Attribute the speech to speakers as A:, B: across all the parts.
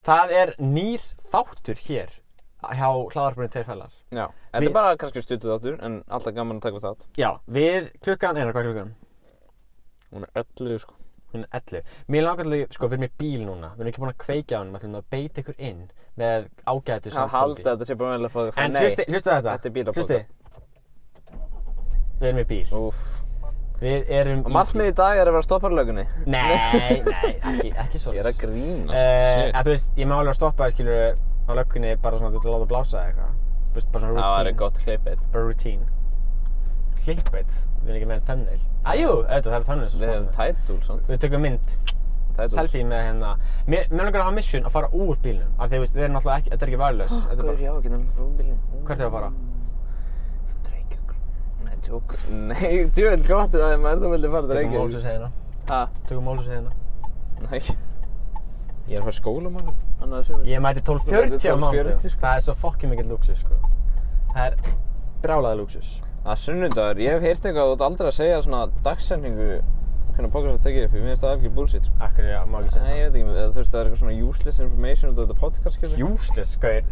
A: Það er nýr þáttur hér hjá hlaðarpunni tveir fælar.
B: Já, þetta
A: Við-
B: er bara kannski stutuð áttur en alltaf gaman að taka þátt
A: Já, við klukkan, er það hvað er klukkan?
B: Hún er öllu sko
A: Hún er 11. Mér langar til að, sko, við erum í bíl núna. Við erum ekki búin að kveikja á hann, við ætlum að beita ykkur inn með ágætu
B: Að halda
A: samkvæmdi.
B: þetta sé bara meðlega fóðið
A: En hlusti, hlusti þetta.
B: Þetta er bílapodcast.
A: Hlusti. Við erum í bíl.
B: Úff
A: Við erum
B: Og markmið í dag er að vera stoppar lögunni
A: Nei, nei, ekki, ekki
B: Ég er að
A: svolítið.
B: grínast
A: Eh, en þú veist, ég má alveg að stoppa þér, skilur, á löggunni bara svona til að láta blása eða eitthvað. Þú veist, bara svona
B: Það
A: routine.
B: var gott hleypið
A: bara routine Clickbait, við erum ekki með thumbnail Æjú, auðvitað það er thumbnail sem
B: Við hefum
A: sponsor.
B: tætúl svona
A: Við tökum mynd,
B: Tætúl
A: selfie með hérna Mér mér langar að hafa mission að fara úr bílnum Af því að við erum náttúrulega ekki, þetta er ekki værlaus Þetta er
B: Gaur,
A: bara,
B: já, getur náttúrulega frá bílinn
A: hvert er að fara?
B: Reykjavík Nei, tjók Nei, djúvel gráttið að ég maður þú vildi fara til
A: Tökum
B: Reykjavík
A: Mólsus hérna
B: Ha?
A: Tökum Mólsus hérna
B: Nei Ég er að fara í skóla maður Annað sumar
A: Ég mæti 12.40 á mánu
B: 12:40 sko.
A: Það er svo fokkin mikill luxus sko Það er brálaði luxus
B: Það er sunnudagur, ég hef heyrt eitthvað að þú ert aldrei að segja svona dagsendingu hvernig podcast að tekið upp, ég finnst það algjör bullshit sko.
A: Akkur er að má ekki
B: Nei,
A: segja
B: ég veit ekki, eða þú veist það er eitthvað svona useless information út af þetta podcast skilur
A: það Useless sko er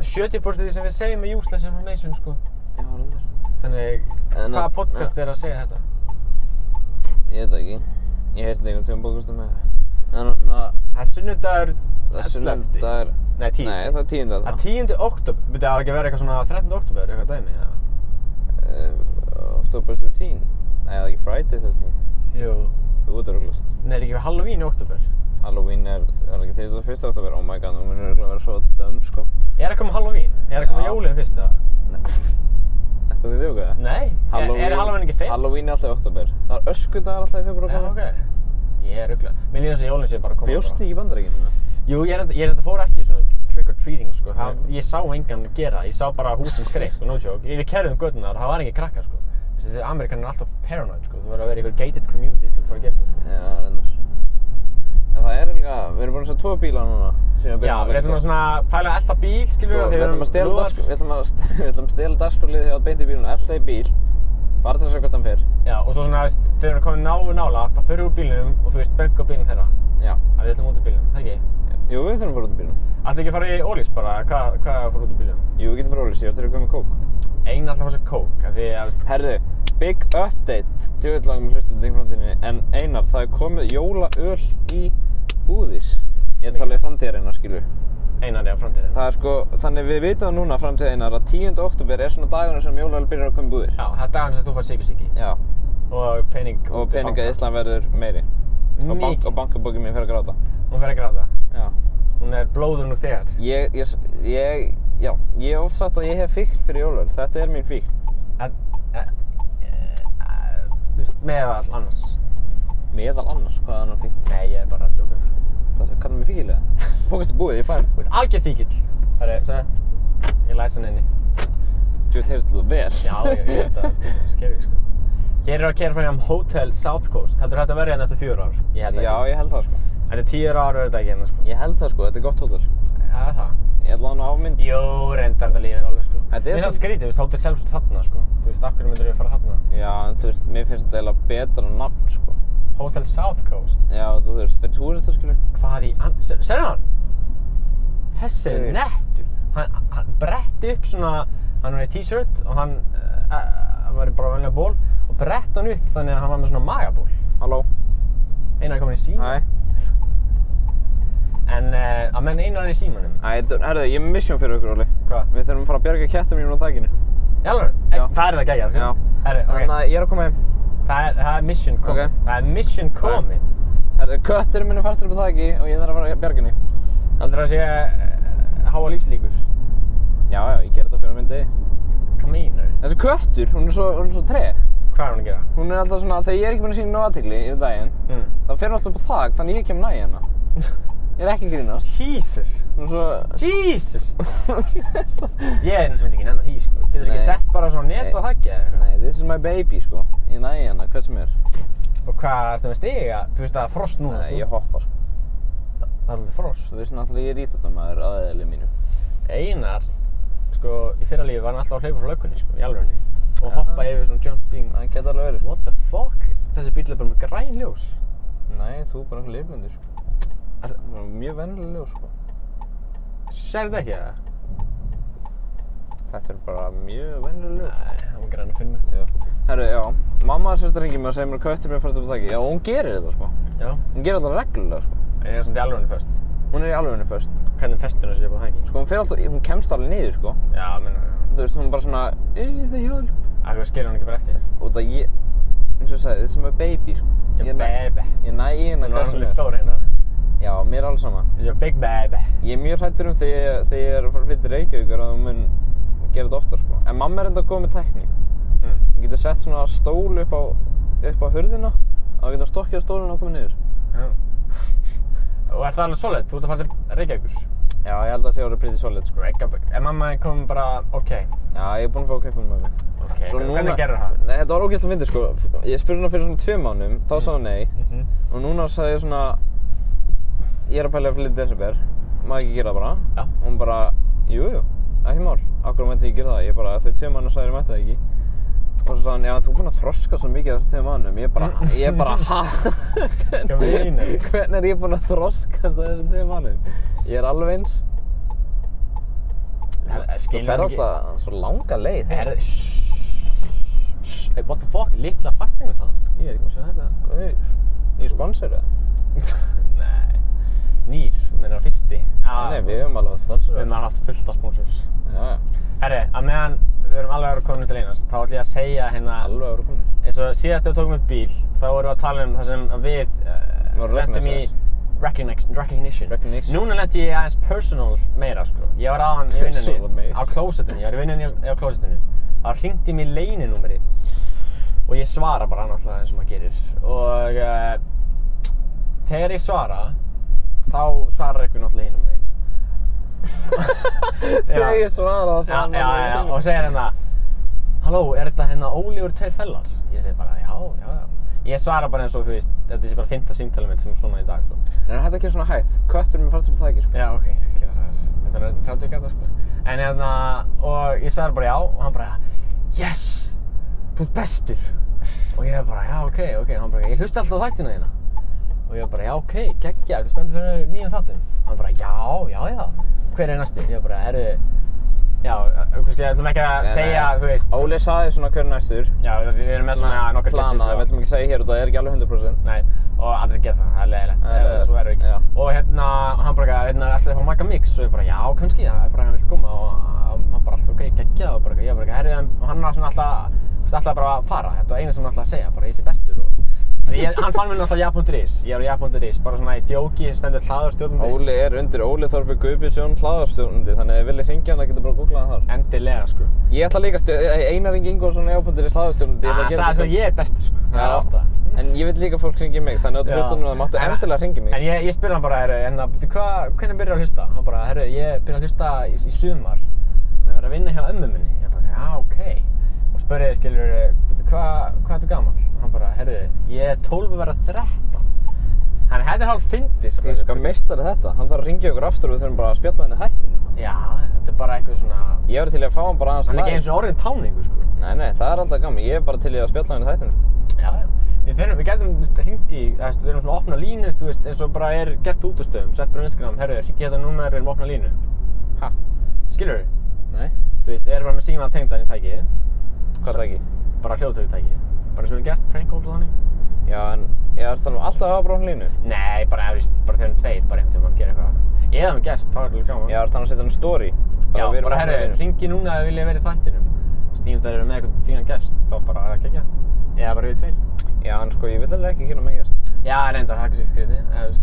A: 70% því sem við segjum er useless information sko
B: Já, reyndar
A: Þannig,
B: En-
A: hvaða podcast er að segja þetta?
B: Ég veit það ekki, ég heyrt eitthvað tjóðum podcast um það En þannig að
A: Það er sunnudagur
B: það er sunnudagur
A: Nei, tíu
B: Nei, það er tíund
A: Það
B: að
A: er
B: það
A: tíundu oktober Byrja, það á ekki að vera eitthvað svona 13. oktober Eitthvað dæmi, eða?
B: Eh, October 13 Nei, það er ekki Friday 13
A: Jú
B: Þú ert örglast
A: Nei, er ekki við Halloween í oktober
B: Halloween er, er ekki 31. oktober, oh my god, nú munir örgulega vera svo döm sko
A: Er að koma Halloween? Er að koma
B: Já.
A: jólinn fyrst, eða?
B: Þetta er því þú hvað?
A: Nei er, er Halloween ekki þeim?
B: Halloween er alltaf í oktober. Það er öskudagar alltaf í februar
A: Já,
B: og komið.
A: ok Ég er ruggla Mér líður þess að jólinn sé bara að koma
B: Bjóst ekki í bandaríkinu með?
A: bara. Jú, ég er enda- ég er þetta fór ekki í svona trick or treating, sko það,
B: Nei.
A: Ég sá engan gera Ég sá bara húsin skreitt, sko, no joke Ég- Við kerðum göttunar, það var engin krakka, sko Þú veist, Þessi Amerikanin er alltaf paranoid, sko Þú verður að vera í einhver gated community til að fara að gera þetta, sko
B: Já, reyndar. En það er líka, við erum búin að sjá tvo bíla núna síðan við
A: Já,
B: byrjum
A: við ætlum að svona pæla elda bíl, skilur
B: Sko, við ætlum að stela dagskrá, við ætlum að, st- við ætlum að stela dagskrálið hjá beint í bílun, alltaf í bíl, bara til að sjá hvort hann fer.
A: Já, og svo svona, veist, þegar við erum komin náðu nála, þá fyrir við úr bílnum og þú veist, bönka bílnum þeirra.
B: Já.
A: Það við ætlum út úr bílnum, það ekki?
B: Jú, við þurfum að fara út í bílun.
A: Ætlum ekki að fara í ólís bara, eða hvað hva er að fara út úr bílnum?
B: Jú, við getum fara ólýs, ég ætlum að koma með kók.
A: Einn alltaf að fara sér kók, af því að, veist,
B: Herðu, big update, djöðvill langum hlustundin í framtíðinni, en Einar, það er komið jólaöl í búðir. Ég tala í framtíðar Einar, skilju.
A: einan er að framtíðin.
B: Það er sko, þannig við vitum núna framtíð einar að 10. oktober er svona dagunum sem jólalöl byrjar að koma í búðir.
A: Já, það er dagann sem þú fær sikursíki
B: Já.
A: og pening
B: Og peningað í Ísland verður meiri. Og, bank,
A: Mikið,
B: og bankabókið mín fer að gráta.
A: hún fer að gráta.
B: Já.
A: Hún er blóðun úr þegar.
B: Ég, ég, s- ég, já, ég hef oft sagt að ég hef fíkn fyrir jólalöl. Þetta er mín fíkn.
A: En, e, e, e, þú veist, meðal annars.
B: Meðal annars, hvað er annar fíkn?
A: Nei, ég er bara að djóka.
B: Það kallar mig fíkilega. Pókast er búið, ég fær.
A: Þú ert algjör þýkill. Það er, sagði, ég læs hann inni.
B: Þú heyrst þú vel.
A: Já, ég veit að það er skeri, sko. Hér er að kera fram hjá um Hotel South Coast. Heldur þetta að verja hérna eftir fjör ár? Ég held
B: Já,
A: ekki.
B: ég held það sko.
A: sko. Eftir tíu ár verður þetta ekki hérna, sko.
B: Ég held það sko, þetta er gott hótel.
A: Það er það.
B: Ég held hann á mynd.
A: Jó, reyndar þetta lífið alveg, sko.
B: Þetta er
A: Mér það
B: samt-
A: skrítið, þú veist, Hotel Selfs er þarna, sko. Þú veist, af hverju myndir við fara þarna?
B: Já, en þú veist, mér finnst þetta eiginlega betra nafn sko.
A: Hotel South Coast?
B: Já, þú veist, fyrir túrista skilur.
A: Hvað í an... Serðu hann? Hessi er
B: Nei.
A: nettur. Hann, hann bretti upp svona... Hann var í t-shirt og hann uh, uh, var í bara venlega ból og brett hann upp þannig að hann var með svona magaból.
B: Halló.
A: Einar er komin í síma.
B: Hæ.
A: En uh, að menn einar hann í símanum.
B: Æ, þetta- herðu, ég er með mission fyrir okkur, Óli.
A: Hvað?
B: Við þurfum að fara að bjarga kettum mínum á þakkinu.
A: Jálfur?
B: Já.
A: Það er það gegja, sko?
B: Já.
A: Herri, ok.
B: Þannig að ég er að koma heim.
A: Það er, það er mission komið.
B: Ok.
A: Það er mission komið.
B: Herðu, kötturinn minn er fastur upp á þakki og ég þarf að fara að bjarga henni.
A: Heldur það að sé uh, háa lífslíkur?
B: Já, já, ég ger þetta okkur á myndi.
A: Hvað meinar
B: Þessi köttur, hún er svo, hún er svo treg.
A: Hvað er hún að gera?
B: Hún er alltaf svona, þegar ég er ekki búin að sína nóg aðtigli yfir daginn,
A: Mm.
B: þá fer hún alltaf upp á þak, þannig ég kem næ í hana. Ég er ekki að grínast.
A: Jesus.
B: Hún er svo...
A: Jesus. Ég myndi ekki nennan því, sko. Getur ekki
B: Nei.
A: sett bara svona net
B: Nei.
A: og þaggja eða eitthvað?
B: Nei, this is my baby, sko. Ég næ í hana, hvað sem er.
A: Og hvað ertu með stiga? Þú veist að það er frost núna,
B: Nei, ég hoppa, sko.
A: Það er alltaf frost.
B: Þú veist náttúrulega, ég er íþjóttamæður að eðli mínu.
A: Einar, sko, í fyrra lífi var hann alltaf að hlaupa frá löggunni, sko, í alveg Og
B: Já.
A: hoppa yfir svona jumping.
B: Það geta alveg verið, sko.
A: What the fuck? Þessi bíl er bara með græn ljós.
B: Nei, þú er bara einhver leifblindur, sko.
A: Er-
B: Mjög vennilega ljós, sko.
A: Sérðu ekki það?
B: Þetta er bara mjög vennileg ljós.
A: Nei, það var grann að finna.
B: Jú. Herru, já, mamma sérst að ringi mig og segir mér að köttur mér fyrst upp á þakki. Já, og hún gerir þetta, sko.
A: Já.
B: Hún gerir þetta reglulega, sko.
A: En ég er svona til alveg fyrst.
B: Hún er í alveginu först.
A: Hvernig festir hún sér upp á þengi?
B: Sko, hún fer alltaf, hún kemst alveg niður, sko.
A: Já, menn,
B: Þú veist, hún er bara svona, ei, það hjálp.
A: af hverju skilur hún ekki bara eftir þér?
B: Og það ég, eins og ég sagði, þetta er sem a baby, sko.
A: Ég
B: Ég næ-
A: baby.
B: Ég næ í hérna
A: Hún var
B: hvað sem
A: alveg
B: er.
A: stór hérna.
B: Já, mér er alls sama.
A: Þessi var big baby.
B: Ég er mjög hrættur um þegar ég, þegar ég er að fara að flytja til Reykjavíkur að hún mun gera þetta oftar, sko. En mamma er enda góð með tækni.
A: Mm.
B: Hún getur sett svona stól upp á, upp á hurðina og það getur stokkjað stólinn og komið niður.
A: Já. Og er það alveg solid? Þú ert að fara til Reykjavíkur?
B: Já, ég held að það sé orðið pretty solid, sko.
A: Reykjavík. En mamma þín kom bara, ok.
B: Já, ég er búinn að fá kaupin með mig.
A: Ok, hvernig gerir það?
B: Nei, þetta var ógælt að fyndi, sko. F- Ég spurði hana fyrir svona tvö mánum, þá sagði hún nei.
A: Mhm.
B: Og núna sagði ég svona, ég er að pæla í að flytja til December. Má ekki gera það bara?
A: Já.
B: Og hún bara, jú, jú, ekki mál. Akkur mætti ég gera það? Ég bara, þau tvö mánu sagði ég mætti það ekki. Og svo sagði hann, já, en þú er búinn að þroska svo mikið á þessum tvö mánum. Ég bara, ég bara, ha?
A: Hvað meinarðu?
B: Hvernig er ég búinn að þroskast á þessum tvö mánum? Ég er alveg eins. Þú
A: Skilur
B: fer
A: hún ekki?
B: alltaf svo langa leið.
A: Er það... Hey, what the fuck? Litla fasteignasalan? Ég er ekki að sjá þetta.
B: Guð, Nýr sponsor eða?
A: Nei. Nýr, þú meinar fyrsti. Ah,
B: Nei, við höfum alveg átt sponsor
A: Við höfum alveg haft fullt af sponsors.
B: Já, já,
A: Herri, að meðan við erum alveg að vera komin til einast, þá ætlum ég að segja hérna,
B: alveg ára konir.
A: eins og síðast þegar við tókum upp bíl, þá vorum við að tala um það sem að við uh,
B: Voru
A: lentum í recognition. recognition.
B: Recognition.
A: Núna lendi ég aðeins personal meira, sko. Ég var aðan í
B: Personal
A: vinnunni,
B: meira.
A: á klósetinu, ég var í vinnunni á- á klósetinu. Það hringdi mér leyninúmeri og ég svara bara náttúrulega eins og maður gerir. Og uh, þegar ég svara, þá svarar einhver náttúrulega hinum meginn.
B: Þegar ég svara það
A: Já, já, já, og segir hérna Halló, er þetta hérna Ólífur tveir fellar? Ég segi bara, já, já, já Ég svara bara eins og þú veist, þetta sé bara fymta símtalið mitt sem er svona í dag, sko
B: En hættu ekki svona hægt, köttur mér fast upp á þakki, sko.
A: Já, ok, ég skal gera það Þetta er þetta 30 gata, sko En hérna, og ég svara bara já og hann bara, yes, þú ert bestur Og ég bara, já, ok, ok, hann bara, ég hlusti alltaf á þættina þína Og ég bara, já, ok, geggja, ertu spenntið fyrir nýjum þáttum? Hann bara, já, já, já, hver er næstur? Ég bara, herru, já, uh, kannski, ætlum ekki að
B: Nei,
A: segja,
B: nei.
A: þú veist
B: eh, Óli saði svona hver er næstur.
A: Já, við, við erum með svona sko. nokkar
B: planað, við ætlum ekki að segja hér út að það er ekki alveg 100%.
A: Nei, og aldrei gert það, það er leiðilegt,
B: Það er leiðilegt,
A: svo verður ekki.
B: já.
A: Og hérna, hann bara, hérna, ætlaði að fá maka mix og ég bara, já, kannski, það er bara hann vil koma og hann bara alltaf, ok, geggja og bara, ég bara, herrið, og hann var svona alltaf, alltaf bara að fara, þetta var eina sem hann alltaf að segja, bara, ég sé bestur og, Þannig ég, hann fann mér náttúrulega ja.is, ég er á ja.is, bara svona í djóki, sem stendur hlaður stjórnum
B: Óli er undir Óli Þorbi Guðbjörnsson hlaðarstjórnandi, þannig að þið viljið hringja hann, það getur bara að googla hann þar.
A: endilega, sko.
B: Ég ætla líka að stu- eh, Einar Ingi Ingólfsson er ápundir í hlaðarstjórnandi, ég
A: Það
B: ætla
A: sagði
B: að gera
A: sko, ég er bestur, sko, það er
B: Já,
A: ofta.
B: En ég vil líka að fólk hringi mig, þannig að þú
A: Já.
B: þurftunum að það máttu
A: En-
B: endilega hringi mig.
A: En ég, ég spyr hann bara, herru, hérna, bíddu, hva, hvernig byrjar að hlusta? Hann bara, herru, ég byrja að hlusta í, í sumar. Þannig að vera að vinna hjá ömmu minni. Ég bara, já, ok. Og spurði ég, skilur, hvað hva ertu gamall? Hann bara, herru, ég er 12 að vera 13. Þannig, þetta er hálf fyndi, sko.
B: Ég sko meistari þetta, hann þarf að ringja okkur aftur og við þurfum bara að spjalla henni hættinu.
A: Já, þetta er bara eitthvað svona,
B: sko. Ég verði til í að fá hann bara aðeins
A: hann er ekki eins og orðin táningu, sko.
B: Nei, nei, það er alltaf gaman, ég er bara til í að spjalla henni hættinu, sko.
A: Já, já. Við, þurfum, við getum hringt í, þú veist, við erum svona að opna línu, þú veist, eins og bara er gert út á stöðum, sett bara á Instagram, herru, hringi þetta númer, við erum að opna línu.
B: Ha?
A: Skilur
B: Nei.
A: þú veist, er bara með síma tengdan í tæki,
B: Hvað það ekki?
A: bara hljóðtöku tæki, bara sem við gert, prank calls og þannig.
B: Já, en ég er alltaf alltaf að hafa brón línu.
A: Nei, bara ef við, bara þegar við erum tveir, bara einhvern tímann gera eitthvað. Eða með gest, þá er alveg gaman.
B: Ég er alltaf að setja hann í story.
A: Já,
B: við erum
A: bara
B: að opna
A: herru,
B: línu.
A: ringi núna ef við vilja vera í þættinum. Þú veist, Ímyndar eru með eitthvað fínan gest, þá bara er það gegja. Eða bara við tveir.
B: Já, en sko, ég vil alveg ekki gera megjast.
A: Já, reyndar, það er kannski skrítið. eða, þú veist,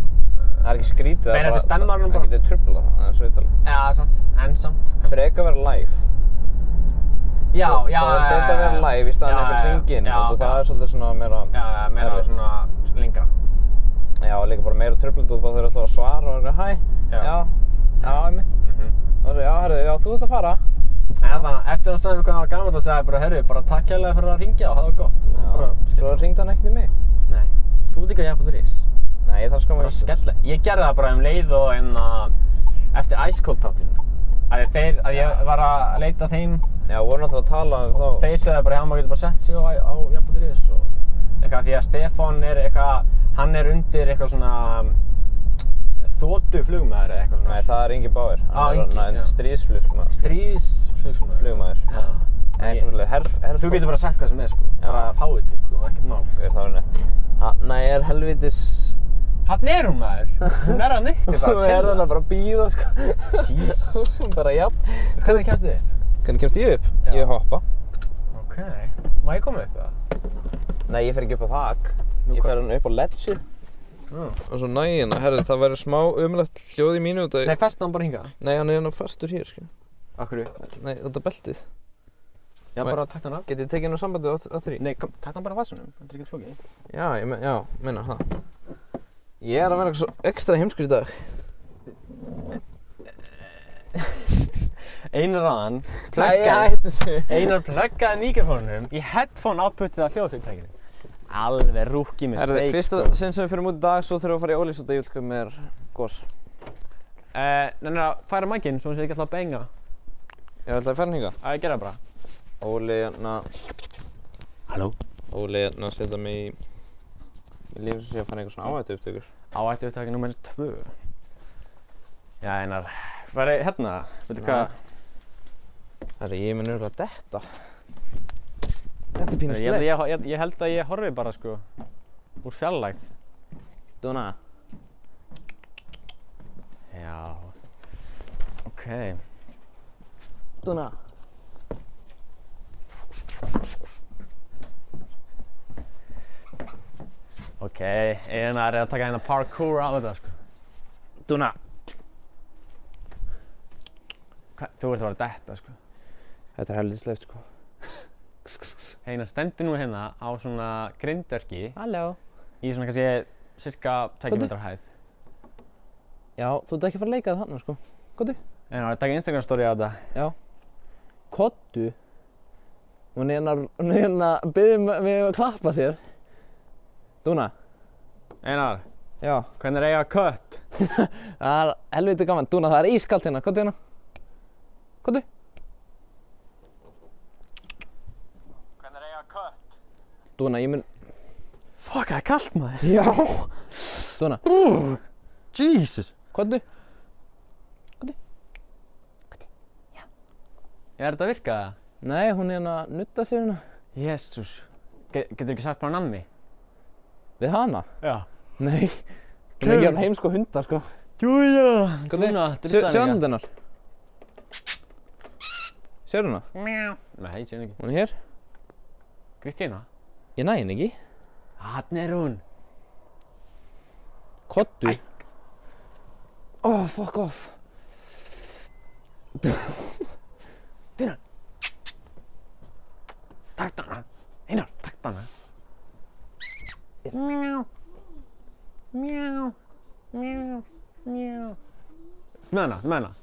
B: Það er ekki skrítið,
A: Fer eftir stemmaranum
B: Það
A: bara.
B: getur trubla það, það er svo viðtalið.
A: Já, samt, en samt. kannski.
B: Freka vera live.
A: Já,
B: Það-
A: já,
B: Það er betra að vera live í staðan eftir syngin. Það er svolítið svona meira...
A: Já, já, meira
B: erfitt.
A: svona lengra.
B: Já, líka bara meira tröflund og þá þurfum alltaf að svara og eitthvað, hæ,
A: Já.
B: já, já, einmitt.
A: Mhm.
B: Og svo, já, herru, já, þú ert að fara.
A: En allan, eftir að hann sagði mér hvað það var gaman þá sagði ég bara, herru, bara takk hérlega fyrir að ringja og hafa það gott. Og
B: Já,
A: bara,
B: svo
A: skella.
B: ringd hann ekkert í mig.
A: Nei, þú veit ekki að ég hef búin ris.
B: Nei, ég þarf sko
A: Bara skella. Ég gerði það bara um leið og en að eftir Ice Cold þáttinn. Að þeir, að ég var að leita að þeim,
B: Já, voru náttúrulega að tala um þá.
A: þeir segði bara, já, maður getur bara sett sig á, á jafnbúin ris og eitthvað, því að Stefán er eitthvað, hann er undir eitthvað svona um, þóttu flugmaður eða eitthvað
B: Nei,
A: svona
B: það er Ingi Bauer.
A: Á, Ingi, já.
B: Stríðsflugmaður.
A: Stríðsflugmaður
B: Flugmaður.
A: Já.
B: Eitthvað
A: Ég-
B: svolítið. Herf, herf,
A: Þú getur bara sagt hvað sem er sko, bara
B: Já.
A: fáið þig sko, ekkert mál
B: Er það verið nett? Ha, nei, er helvitis...
A: Hann er hún maður, hún er að nýtti bara að
B: Við erum
A: chilla.
B: þarna bara að býða, sko.
A: Jesus.
B: bara, jafn.
A: Hvernig kemst þið?
B: Hvernig kemst ég upp?
A: Já.
B: Ég hoppa.
A: Ok, má ég koma upp það?
B: Nei, ég fer ekki upp á þak.
A: Nú,
B: ég
A: hvað?
B: fer hann upp á ledgið.
A: Mm.
B: Hmm. Og svo nægina, herri, það verður smá umlegt hljóð í mínu út af...
A: Nei, festa hann bara hingað.
B: Nei, hann er nú fastur hér, sko.
A: Akkur,
B: Nei, þetta er beltið.
A: já
B: Nei.
A: bara takt hann af.
B: Getið þið tekið nú sambandið átt- aftur í?
A: Nei, kom, takt hann bara af vasunum, þetta er ekki flókið.
B: Já, ég me já, meina það. Ég er að vera svo ekstra heimskur í dag.
A: Einar aðan,
B: Nei,
A: pluggaði,
B: hættu þessu.
A: einar pluggaði mikrofónunum í headphone outputið af hljóðfyrirtækinu. Alveg rúkið með
B: Herði,
A: steik.
B: fyrsta sinn sem við fyrir út í dag, svo þurfum við að fara í ólýsúta júlku með gos.
A: Uh, Nenna, færa mækinn svo hún sé ekki alltaf að benga.
B: Ég ætla að fara hinga.
A: Að ég gera það bara.
B: Óli, hérna,
A: Halló.
B: Óli, hérna, setja mig í... Ég lífum sem sé að fara einhver svona áhættu upptökur.
A: Áættu upptaki nummer 2. Já, einar, færi hérna, veitu hvað?
B: Herri, ég mun örgulega detta. Þetta er
A: Ég, held- ég, ég, ég held að ég horfi bara sko, úr fjarlægð.
B: Dúna.
A: Já, ok.
B: Dúna.
A: Ok, einar er að taka hérna parkour á þetta sko.
B: Dúna.
A: Hva, þú ert að vera detta sko.
B: Þetta er heldislegt, sko.
A: Einar stendur nú hérna á svona grindverki
B: Halló.
A: í svona kannski cirka 2
B: Komdu.
A: metrar hæð.
B: Já, þú ert ekki að fara að leika það hann, sko.
A: Einar er að taka Instagram story á þetta.
B: Kottu. Hún er hérna, hún er hérna, byggði mig að klappa sér. Dúna.
A: Einar,
B: Já.
A: hvernig er eiga kött?
B: Það er helviti gaman. Dúna, það er ískalt hérna. Kottu hérna. Kottu.
A: Hvernig er eiga kött?
B: Dúna, ég mun...
A: Fuck, það er kallt maður.
B: Já. Dúna,
A: Jesus.
B: kottu.
A: Er þetta að virka það?
B: Nei, hún er hérna að nutta sér hérna.
A: Jesus. Ge getur ekki sagt bara nammi?
B: Við hana?
A: Já.
B: Nei. Hún er ekki hann heimsko hundar, sko.
A: Júja.
B: Komdu.
A: Dúna,
B: Sjö-
A: drullan
B: Sjáðu andlit hennar. Sjáðu hérna?
A: Nei, sér hún ekki.
B: Hún er hér.
A: Gritt hérna.
B: Ég næ henni ekki.
A: Hann er hún.
B: Kottu.
A: Æ.
B: Oh, fuck off.
A: Takt hana. Einar, takt hana. Mjá. Mjá. Mjá. Mjá. Með hana, með hana.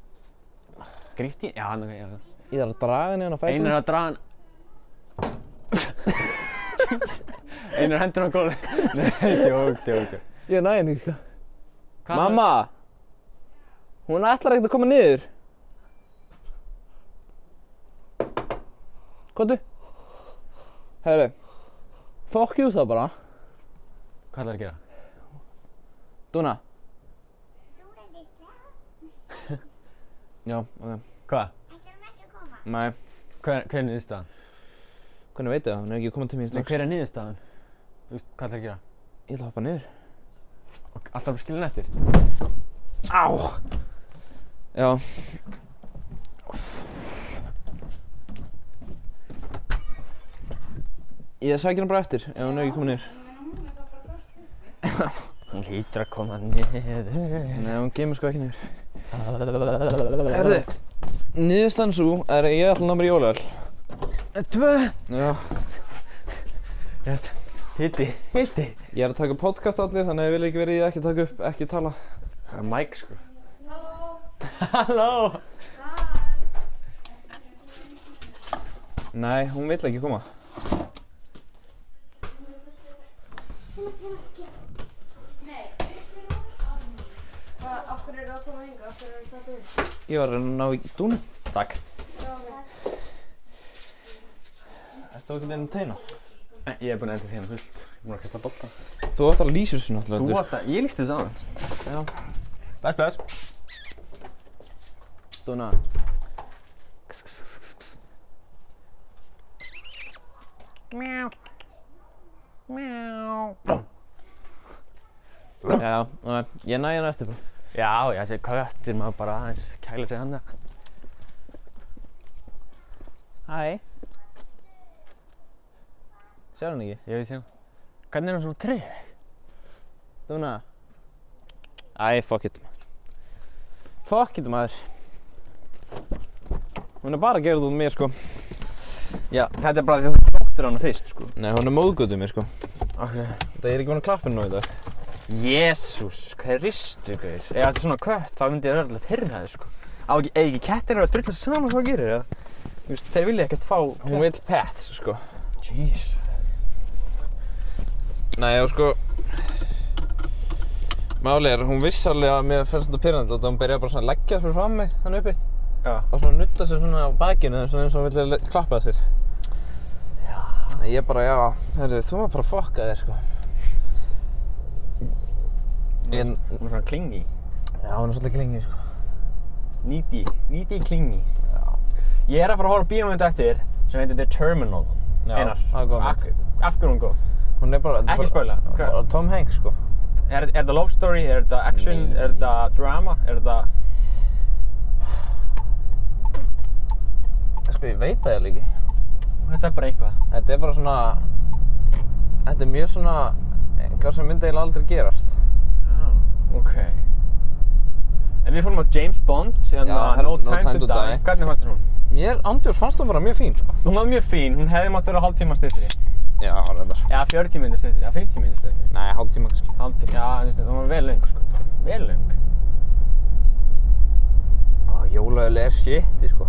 A: Grífti, já, hann, já.
B: Ég þarf að draga henni hérna á fætur.
A: Einar er að draga hann. Einar hendur á gólf. Nei, djók, djók, djók.
B: Ég næ henni ekki, sko.
A: Hvað-
B: Mamma! Hún ætlar ekkert að koma niður. Kottu. Herru. Fuck you þá bara.
A: Hvað ætlar að gera?
B: Dúna. Já, ok.
A: Hvað?
B: Nei.
A: Hver, hver er niðurstaðan?
B: Hvernig veit ég það? Hún hefur ekki komið til mér í
A: Nei,
B: slags.
A: hver er niðurstaðan? Þú veist, hvað ætlar að gera?
B: Ég ætla að hoppa niður.
A: Ok, Alltaf bara skilin eftir.
B: Á! Já. Ég sækir hann bara eftir ef hún hefur ekki komið niður.
A: Hún hlýtur að koma niður.
B: Nei, hún gemur sko ekki niður. Herðu, niðurstaðan svo er að ég ætla að ná mér í jólagal.
A: Eh, Tvö.
B: Já.
A: Yes. Hitti, hitti.
B: Ég er að taka upp podcast allir, þannig að ég vil ekki verið í því að ekki taka upp, ekki tala.
A: Það er mæk sko. Halló. Halló.
B: Nei, hún vill ekki koma.
C: Af hverju eru það að koma hinga? Af hverju eru það að koma hinga?
B: Ég var að reyna að ná í dúnu.
A: Takk.
B: Ertu okkur enn teina?
A: Eh, Ég er búinn að enda þérna fullt. Ég er búinn að kasta bolta.
B: Þú ætti að lýsa þessu náttúrulega.
A: átt að, ég lísti þessu aðeins.
B: Já.
A: Bless, bless.
B: Duna. Mjá. Mjá. Já, já, ég næ hérna eftir bara.
A: Já, já, þessi köttir maður bara aðeins kæla sig hann
B: Hæ. Sér hann ekki?
A: Ég veit síðan. Hvernig er hann svona treg?
B: Duna. Æ, fuck it. maður. Fuck it maður. Hún er bara að gera þetta út um mér sko.
A: Já, þetta er bara því að þú sóttir hann fyrst, sko.
B: Nei, hún er móðgötuð mér sko.
A: Akkur.
B: Það er ekki búin að klappa henni nú í dag.
A: Jésús, hvað er ristu, gaur? Ef þetta er svona kött, þá myndi ég verðilega pyrra þig, sko. Á ekki, eigi ekki kettir eru að drulla saman hvað þú gerir, eða? Þú veist, þeir vilja ekkert fá...
B: Hún vil pets sko.
A: Jeez.
B: Nei, og sko Máli er, hún vissi alveg að mér fannst þetta pyrrandi og hún byrjaði bara svona að leggja fyrir fram mig hann uppi
A: Já.
B: og svona nutta sér svona á bakinu svona eins og hún vilja le- klappa sér Já Ég bara, já, herru, þú maður bara að fokka þér, sko Ég,
A: Hún er svona klingi.
B: já, hún er svolítið klingi, sko
A: Needy. Needy klingi. Já. Ég er að fara að horfa á bíómynd eftir sem heitir The Terminal.
B: Já, það er góð mynd.
A: mynd. Af hverju er hún góð?
B: Hún er bara þetta er
A: Ekki
B: bara-
A: spoila. Hvað-
B: Bara Tom Hanks, sko
A: Er, er þetta love story, er þetta action,
B: Nei.
A: er þetta drama, er þetta...
B: Sko, ég veit það ég ekki
A: Þetta er bara eitthvað.
B: Þetta er bara svona Þetta er mjög svona eitthvað sem myndi eiginlega aldrei gerast
A: Já, Oh, ok. En við fórum á James Bond, hérna
B: Já,
A: no,
B: No
A: time
B: Time
A: to
B: to
A: Die.
B: Die.
A: Hvernig fannst þér hún?
B: Mér, Andjós, fannst hún bara mjög fín, sko
A: Hún var mjög fín, hún hefði mátt vera hálftíma styttri.
B: Já, reyndar
A: Eða 40 minnir styttri, eða 50 minnir styttri.
B: Nei, hálftíma kannski.
A: Hálftíma, já, þú veist, hún var vel löng, sko. Vel löng.
B: Jólaöl er shiti, sko.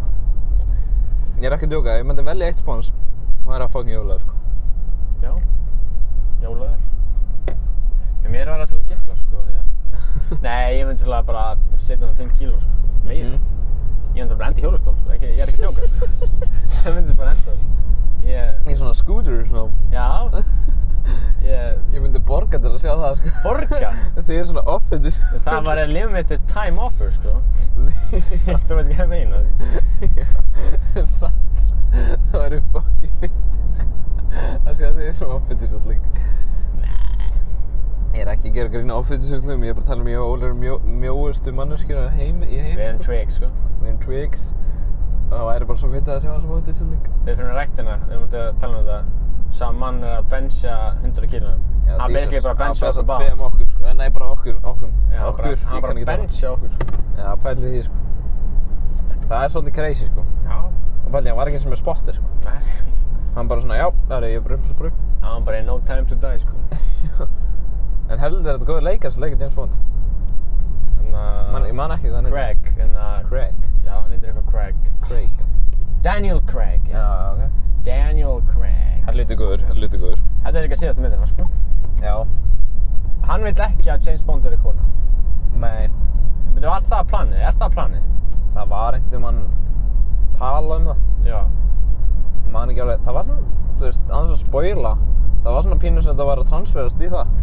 B: Ég er ekki að djóka, ef ég myndi velja eitt spons, þá er það fucking jólaöl, sko.
A: Já. Jólaður. En mér var það til að gifla, sko, því að... Nei, ég myndi svolítið bara setja hann 5 kíló, sko. Meira.
B: Mhm.
A: Ég myndi bara enda í hjólastól, sko. Ekki, ég er ekki að djóka, sko. ég myndi bara enda. Ég...
B: Ég er svona scooter, svona.
A: Já. Ég...
B: Ég myndi borga til að sjá það, sko.
A: Borga?
B: Þið er svona offitus.
A: Það var að limited time offer, sko. Þú veist hvað ég meina. sko.
B: Satt, sko. Það væri fucking fyndið, sko. Að sjá þið er svona offitus allir. Ég er ekki að gera grína offitus allir, ég er bara að tala um mjög ólega mjó, mjóustu manneskjur á heim, í heim,
A: Við erum twig, sko.
B: Við erum twigs. Og það væri bara svo fyndið að sjá það sem offitus allir.
A: Þau fyrir ræktina, við erum að tala um þetta. Sá mann er að bencha 100 kílum.
B: Já,
A: Hann
B: Jesus.
A: basically bara bencha
B: Hann
A: okkur
B: bara
A: báða.
B: tveim okkur, sko. Eh, Nei, bara okkur, okkur,
A: Já, hann
B: okkur,
A: bara- hann
B: ég
A: bara
B: kann ekki tala.
A: bencha okkur, sko.
B: Já, pælið því, sko. Það er svolítið crazy, sko.
A: Já.
B: Og pælið, hann var ekki eins og með spotti, sko.
A: Nei.
B: Hann bara svona, já, það er ég bara upp, bara upp.
A: Það var bara no time to die, sko.
B: En heldur er þetta góður leikar sem leikar James Bond.
A: Þannig að...
B: Man, ég man ekki hvað hann heitir.
A: Craig, þannig að...
B: Craig.
A: Já, hann heitir eitthvað Craig.
B: Craig.
A: Daniel Craig, já.
B: Já, ok.
A: Daniel Craig.
B: Helviti góður, helviti góður.
A: Þetta er líka síðasta myndina, sko.
B: Já.
A: Hann vil ekki að James Bond er í kona.
B: Nei,
A: Betur, var það planið? Er það planið?
B: það var einhvern veginn tala um það.
A: Já.
B: Ég Man ekki alveg, það var svona, þú veist, annars að spoila. Það var svona pínu sem þetta var að transferast í það.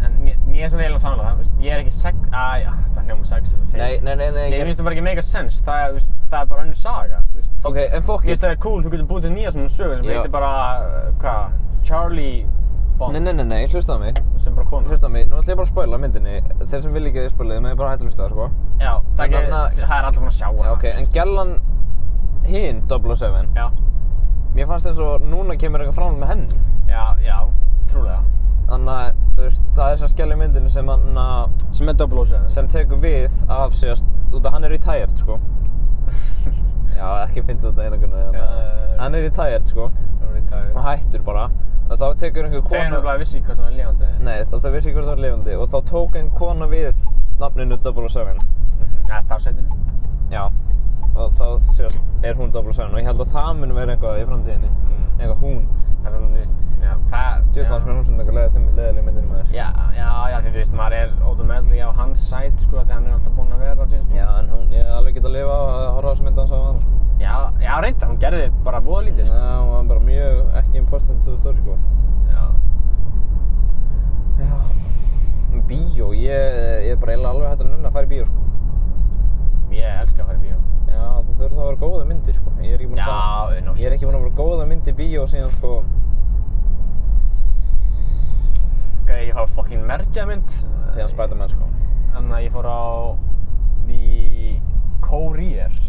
A: En mér, mér er svona eiginlega samanlega, það, veist, ég er ekki sex, aðja, það hljóma sex þetta segir.
B: Nei, nei, nei, nei.
A: Nei,
B: ég-
A: mér finnst það bara ekki mega sens, það, er, veist, það er bara önnur saga, þú veist.
B: Ok, en
A: Ég
B: fokk ég.
A: veist það er cool, þú getur búið til nýja svona sögu sem
B: Já.
A: heitir bara, uh, hvað, Charlie Bond,
B: Nei, nei, nei, nei, hlustaðu á mig.
A: sem bara komið.
B: Hlusta á mig, nú ætla ég bara að spoila myndinni Þeir sem vil ekki að ég spoila þið, maður bara hætti að hlusta á það, sko
A: Já, það,
B: En
A: er
B: þarna-
A: ekki, það er allir búin að sjá
B: Já, ok, en gellan hinn 007
A: Já,
B: Mér fannst þess að núna kemur eitthvað fram með henni
A: já, já, trúlega.
B: Þannig að, þú veist, það er þess að skella í myndinni sem hann að
A: Sem er double O7.
B: sem tekur við af sérst út að hann er retired, sko Já, ekki fyndi út að einhvern
A: Já, já, já.
B: veginn Hann er retired, sko og
A: Þegar
B: hættur bara og þá tekur einhver
A: hann
B: kona
A: bara vissi ekki hvort hann var lifandi.
B: Nei, og það vissi ekki hvort það var lifandi og þá tók ein kona við nafninu 007
A: Mhm, Það er stafsætinu.
B: Já, og þá sést, er hún 007 og ég held að það mun vera eitthvað í framtíðinni
A: Mm.
B: Eitthvað hún
A: Það er svona, þú veist, já, það...
B: Djöðlans
A: já.
B: með hún sem eitthvað leðilega myndinu með þér
A: Já, já, já, því þú veist, maður er automatically á hans sæt, sko, því hann er alltaf búinn að vera, þú veist.
B: Já, en hún, ég hef alveg getað að lifa á að horfa á þessu mynda hans á hann sko.
A: Já, já, reynda, hún gerði bara voða lítið,
B: Já,
A: sko.
B: og hann bara mjög Mm. ekki important to the story sko
A: Já.
B: Já bíó, ég, ég er bara eiginlega alveg hægt að nunna að fara í bíó sko.
A: Ég elska að fara í bíó.
B: Já, það þurfa þá að vera góða myndir sko. Ég er ekki búinn að fara,
A: Já, no
B: ég er ekki búinn að fara góða mynd í bíó síðan sko.
A: Gæði ég fá fokkin merkjamynd.
B: Síðan Spiderman sko.
A: Þannig að ég fór á The Courier.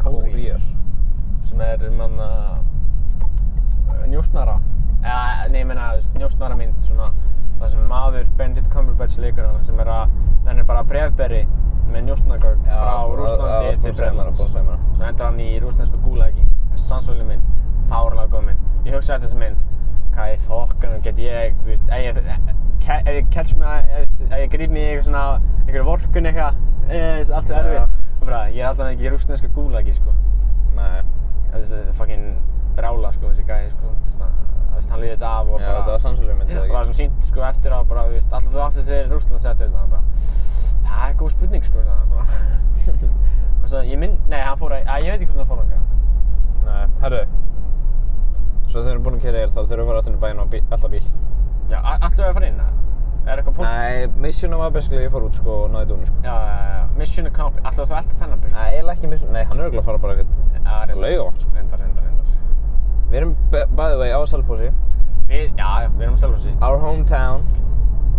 B: Courier.
A: Sem er manna njósnara. Eða, nei, ég meina njósnara mynd svona. Það sem maður Benedict Cumberbatch leikur hann sem er að, hann er bara brefberi með njósnagögn
B: Já,
A: frá
B: sko, já,
A: Rúslandi
B: sko,
A: til
B: segir maður,
A: Bretlands.
B: sko, segir maður.
A: Svo endur hann í rúsnesku gúlagi. Sannsvölu mynd, fárlega góð mynd. Ég hugsaði eftir þessa mynd, hvað í fokkanum get ég, þú veist, ef ég, ke- ef ég catch mig, að- ef, ef ég grýp mig í eitthvað svona, einhverju vorkun eitthvað, eh, þessu allt svo
B: Já.
A: erfið. Og bara, ég er alltaf ekki í rúsnesku gúlagi, sko.
B: Nei.
A: Þú veist, Þetta er fucking brála, sko, þessi gæði, sko. Svona, þú veist, hann líði þetta af og
B: Já,
A: bara...
B: þetta var sannsölu mynd,
A: Já,
B: eða
A: og það var
B: ekki?
A: svona sínt sko eftir á bara, þú veist, alltaf þú aftur þegar Rússlands eftir þetta, hann bara, það er góð spurning sko, sagði hann bara. og svo ég minn, nei, hann fór að, að ég veit ekki hvernig hann fór nokkað.
B: Nei, herru. Svo þegar við erum búin að kera þér þá þurfum við að fara aftur inn í bæinn og bí- elta bíl.
A: Já, allu að fara inn, eða? Er eitthvað punkt?
B: Nei, missionum var basically ég fór út sko og náði dúnu sko.
A: Já, já, já, já, mission accomplished, alltaf þú alltaf þennan byrjum?
B: Nei, eiginlega ekki missionum, nei, hann er auðvitað að fara bara eitthvað.
A: Já, reyndar.
B: Laugavatn, sko.
A: Reyndar, reyndar, reyndar.
B: Við erum, b- by the way, á Selfossi.
A: Við, já, já, við erum á Selfossi.
B: Our hometown.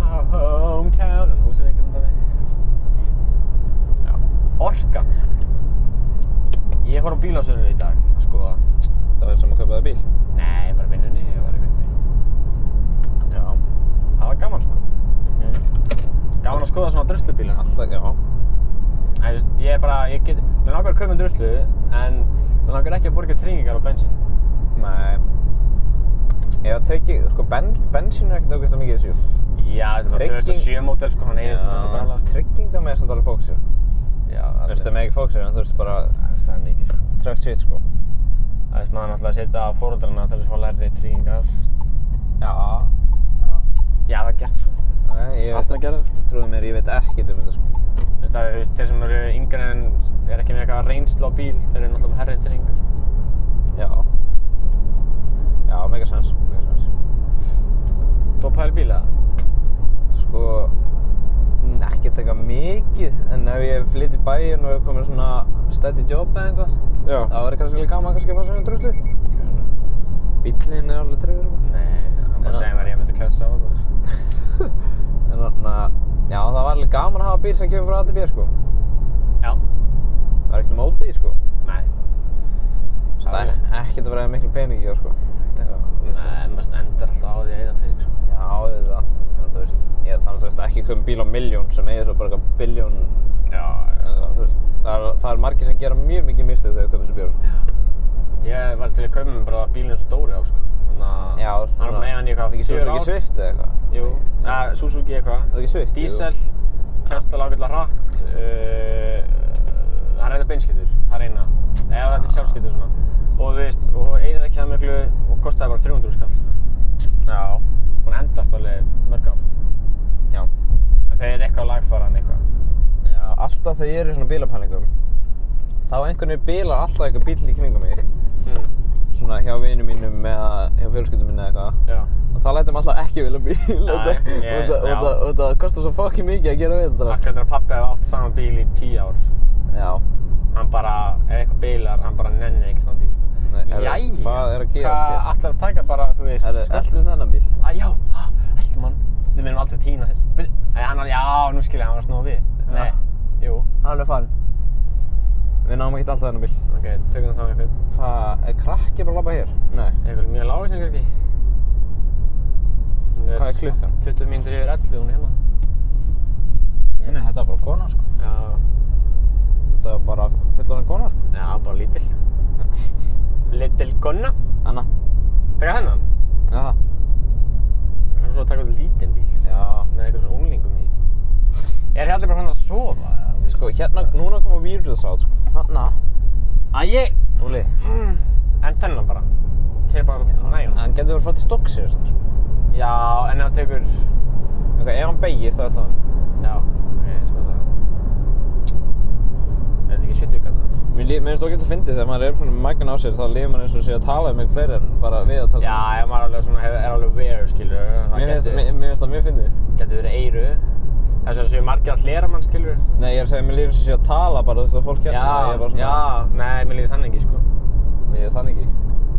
A: Our hometown, en húsið ekki þannig dæmi. Já. Orkan. Ég fór á bílasölu í dag, að skoða.
B: Það var sem að kaupa það bíl.
A: Nei, bara í vinnunni, ég var í vinnunni.
B: Já.
A: Það var gaman sko.
B: Mhm.
A: Gaman að skoða svona druslubíla.
B: Alltaf, já.
A: Nei, þú veist, ég er bara, ég get, mér langar að kaupa en druslu, en mér langar ekki að borga tryggingar og bensín.
B: Nei. Ef að tryggi, sko, ben, bensín er ekkert ákveðst að mikið í þessu.
A: Já, þetta var
B: Trygging-
A: 2007 mótel sko, hann eigið svona svo bæla.
B: trygginga með samt alveg fókusir.
A: Já,
B: Þú veist, það með ekki fókusir, en þú veist bara
A: það er mikið sko.
B: trögt shit, sko.
A: Það veist, maður náttúrulega að setja á fóröldrana til þess að fá lærri tryggingar.
B: Já.
A: Já, það er gert sko.
B: Nei, ég
A: Allt að gera,
B: sko. Trúðu mér, ég veit ekkert um þetta, sko.
A: Þú veist, það, þú veist, þeir sem eru yngre en er ekki með eitthvað reynslu á bíl, þeir eru náttúrulega með herri tryggingar sko.
B: Já. Já, mega sens, mega sens.
A: Þú pæli bíla?
B: Sko, n- ekkert eitthvað mikið, en ef ég flytt í bæinn og er komið svona steady job eða eitthvað,
A: Já.
B: þá er kannski líka gaman kannski að fá svona druslu. Bíllinn er alveg trefur eitthvað.
A: Nei, hann bara
B: Já.
A: segir mér að ég myndi klessa á það. sko.
B: En þarna, já, það var alveg gaman að hafa bíl sem kemur frá ATB, sko.
A: Já.
B: Það var ekkert mótið, sko.
A: Nei.
B: Það er ekkert að vera miklu peningi, já, sko. Ekkert eitthvað.
A: Nei, en maður endar alltaf á því að eigða pening sko.
B: Já, þetta, en þú veist, ég er þannig, þú veist, ekki komið bíl á miljón sem eigi svo bara eitthvað biljón,
A: Já,
B: þú veist, það er, það er margir sem gera mjög mikið mistök þegar þau kaupa þessu bíl, sko.
A: ég var til að kaupa mér bara bílinn sem Dóri á sko. Þannig að
B: Já,
A: hann var með hann í eitthvað
B: Svo
A: sjö
B: ekki Swift eða eitthvað?
A: Jú, að, Suzuki eitthvað.
B: Það er ekki Swift, jú.
A: Diesel, kemst alveg ágætlega hratt. Uh, hann reyndar beinskiptur, það er eina. Eða þetta er sjálfskiptur svona. Og þú veist, og eigðar ekki það miklu og kostaði bara 300 skall.
B: Já.
A: Hún endast alveg mörg ár.
B: Já.
A: En þeir eru eitthvað lagfaran eitthvað.
B: Já, alltaf þegar ég er í svona bílapælingum, þá einhvern veginn bílar alltaf eitthvað bíl í kringum mig. Hmm.
A: Mm,
B: Svona hjá vinum mínum eða hjá fjölskyldum minni eða eitthvað.
A: já.
B: Og það lætum alltaf ekki vilja bíl.
A: Nei,
B: Þetta-
A: ég-
B: þetta-
A: já.
B: þetta- þetta- Það kostar svo fokkin mikið að gera við þetta.
A: Allt
B: allt.
A: þetta að pappi hefði átt saman bíl í 10 ár.
B: Já.
A: hann bara, ef eitthvað bilar, hann bara nennir ekki standi í sko.
B: Nei, er-
A: Jæja,
B: hvað er að gerast hér?
A: Hvað ætlar að taka bara, þú veist,
B: Er það
A: skoll-
B: allir þennan bíl?
A: Æ, já, ha, eldum hann. Við munum aldrei týna þér. Bíl- Æ, hann var, já, nú skil ég, hann var að snúa við. Nei, jú.
B: Hann er farin. Við náum ekki alltaf þennan bíl.
A: Ok, tökum það þá eitthvað.
B: Það er krakki bara að labba hér? Nei.
A: Eitthvað mjög lágur sem kannski. Hún
B: Hvað er klukkan?
A: 20 mínútur yfir 11, hún er hérna.
B: Nei, nei, þetta var bara kona, sko.
A: Já,
B: Þetta var bara fullorinn kona, sko.
A: já, bara lítil. Lítil konna.
B: Anna.
A: Taka hennan.
B: Já.
A: Hann
B: Mhm.
A: er svo að taka út lítinn bíl. sko.
B: Já.
A: Með eitthvað svona unglingum í. Er þið allir bara hann að sofa? eða, þú veist?
B: Sko, hérna, núna koma vírus át, sko. Hanna.
A: Æ, ég...
B: Úli.
A: Mm, en þennan bara. Keir bara næjum.
B: Hann getur verið að fara til Stokksir, samt, sko.
A: Já, en ef það tekur...
B: Ok, ef hann beigir, þá er það hann.
A: Já, ok, sko það. Er þetta ekki sjöttu gata?
B: Mér lí- mér finnst þú ekki að fyndi þegar maður er svona magna á sér, þá líður maður eins og sé að tala um eitthvað fleiri en bara við að tala
A: Já, ef maður alveg svona hef, er alveg veru, skilur.
B: Mér
A: Það
B: finnst,
A: getur
B: mér, mér finnst það mjög fyndið.
A: getu verið eiru. Þess að séu margir að hlera mann, skilur
B: Nei, ég er að segja, mér líður eins og ég sé að tala bara, þú veist, að fólk hérna, ég er bara svona,
A: já, nei, mér líði þannig ekki, sko.
B: mér er þannig ekki.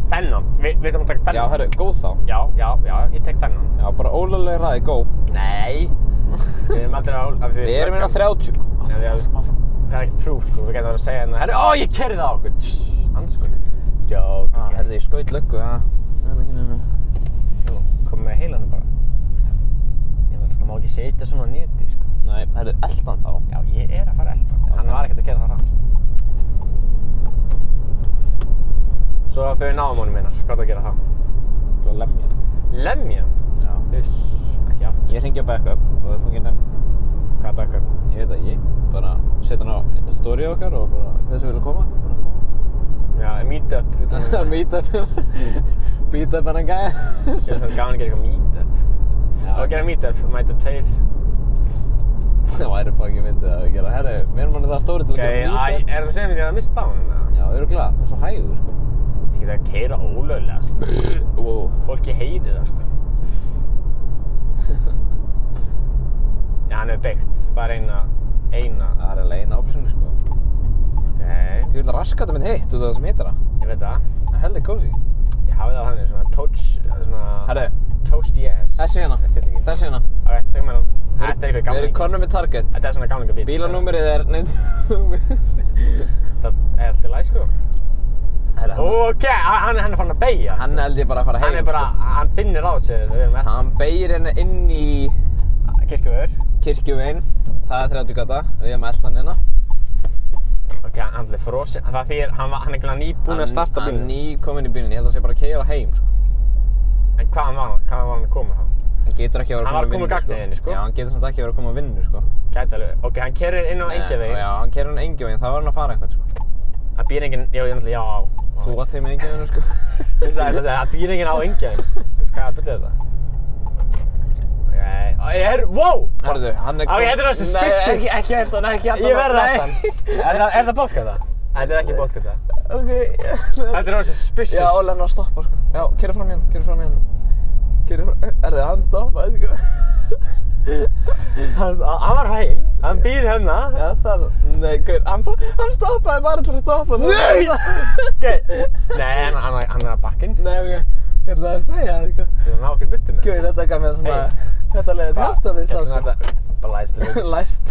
A: Þennan, Vi, við ætlum að taka
B: Já,
A: þennan.
B: herru, góð þá.
A: já, já, já, ég tek þennan.
B: Já, bara ólega ræði, góð.
A: Nei, við erum aldrei á... að
B: Við erum hérna
A: að
B: 30, sko.
A: Já, já, við- Það er ekkert prúf, sko, við getum að vera að segja hérna, herru, ó, ég kerði það á okkur. Tss, Anskur. Jók,
B: Já, herru, Ah, ég skaut löggu, já. Það er ekki nema.
A: Nú, kom með heilanum bara. Ég veit, það má ekki setja svona á neti, sko.
B: Nei, herru, eldan þá.
A: Já, ég er að fara elda.
B: Já,
A: Hann
B: ok.
A: var ekkert að gera það rann, sko. Svo að þau náum honum einar, hvað það að gera það?
B: Þú að lemja hana.
A: Lemja hann?
B: Já.
A: Þess, ekki aftur.
B: Ég hringi á backup og við fangir nefn,
A: Hvað er backup?
B: ég veit það ekki, bara setja hann á story okkar og bara, þessu vilja koma, bara koma.
A: Já, meetup. við tölum um það.
B: Meet up hérna, beat up hann gæja.
A: Ég er svona gaman að gera eitthvað meetup.
B: Já,
A: Á að gera meetup, mæta tveir.
B: Það væri fucking myndið að gera, herru, við erum hann það stóri til að
A: Ok, æ,
B: gera
A: er
B: meet up.
A: það að segja mér að ég er að mista á hann?
B: Já, öruglega, það er svo hægur, sko.
A: Þið geta að keira ólöglega, sko.
B: Wow.
A: Fólki heiði það, sko. Já, hann er byggt. Það er eina, eina.
B: Það er alveg eina option, sko.
A: Ok,
B: Ég vil raskat það með hitt, þú veit það sem hittar það.
A: ég veit það.
B: Það er heldig cozy.
A: Ég hafi það þannig, svona toast, svona...
B: Herru,
A: Toast yes.
B: þessi hérna,
A: Eftir líkinn.
B: þessi hérna.
A: Ok, tökum við hann. Þetta er eitthvað
B: Við erum
A: gamlinga.
B: konum með target.
A: Þetta er svona gamlinga bíl.
B: Bílanúmerið er, neitt,
A: Það er alltaf læg, sko.
B: herru,
A: Ok, hann hann er farin að beigja.
B: hann held ég bara að fara heim, sko.
A: Hann er bara, hann finnir á sér þegar við erum eftir
B: Hann beigir hérna inn í
A: kirkjuvöður.
B: kirkjuveginn, það er 30 gata og ég er með eldan hérna.
A: Ok, hann hann er allir frosinn. Það þýr, hann, var- hann er ekki nýbúinn að starta
B: Hann
A: bílinn.
B: ný kominn í bílinn, ég held að hann sé bara að keira heim sko.
A: En hvaðan var hann, hvaðan var hann að koma þá?
B: Hann getur ekki að vera
A: Hann var
B: að
A: að koma úr
B: koma að
A: gagnauginni,
B: vinnu
A: sko.
B: Já, hann getur samt ekki að vera að koma að vinnu sko.
A: Gæti alveg, ok, hann kerir inn á
B: Nei,
A: engjavegin.
B: Já, hann keira hann engjaveginn, það var hann að fara eitthvað sko.
A: Það býr enginn, já, ég ætla, já, á.
B: Þú átt heim með engjaveginn sko.
A: Ég sagði þetta, það býr enginn á engjavegin. Þú veist hvað að byrja þetta? Ok, og ég er, wow!
B: Hörðu, hann er
A: Á, ég, þetta er þessi suspicious.
B: Nei, ekki eldan, ekki eldan.
A: Ég verði aftan. Er, það- er það bótkata? Þetta er ekki bótkata.
B: Ok.
A: Þetta er orðið suspicious.
B: Já, Óli hann er að stoppa sko. Já, keira fram hérna, keira fram hérna. Keira fram, er hann stoppaði sko.
A: Hann hann var hrein, hann býr hérna.
B: Já, það er svo, nei, gaur, hann, fó- hann stoppaði bara til að stoppa svo.
A: Nei!
B: Ok.
A: Nei, hann, hann, hann er að bakkinn.
B: Nei, ok, ég ætlaði að segja það, sko.
A: Það er ná okkur byrtinu.
B: Gaur, þetta gaf mér svona,
A: Hey.
B: þetta leiði til hjarta við það, sko.
A: Bara læst til auðvitað.
B: Læst.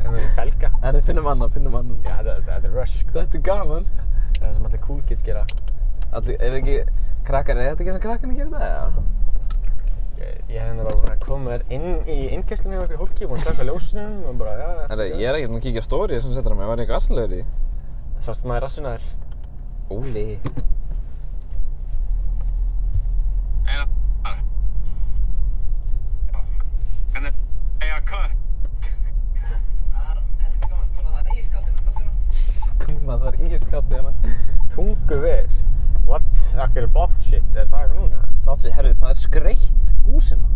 A: Það er felga.
B: Herri, finnum annan, finnum annan.
A: Hérna Já, þetta- þetta þetta er rush, sko.
B: Þetta er gaman, sko.
A: Það er það sem allir cool kids gera.
B: Allir, er ekki, krakkar, er þetta ekki sem krakkarnir gerir það, já?
A: Ég ég er hérna bara búinn að koma þér inn í innkesslunni hjá okkur fólki, búinn að slökka ljósunum og bara, já, já.
B: Herri, ég er ekkert að kíkja stóri sem setur á mig, var ég eitthvað assanlegur í?
A: Sástu maður rassuna þér?
B: Óli.
D: Eða bara. Hvernig er að kött?
B: Tungna, það er ír skatti hérna.
A: Tungu ver. What? Akkur blocked shit, er það eitthvað núna?
B: Látsi, herri, það er skreitt húsina.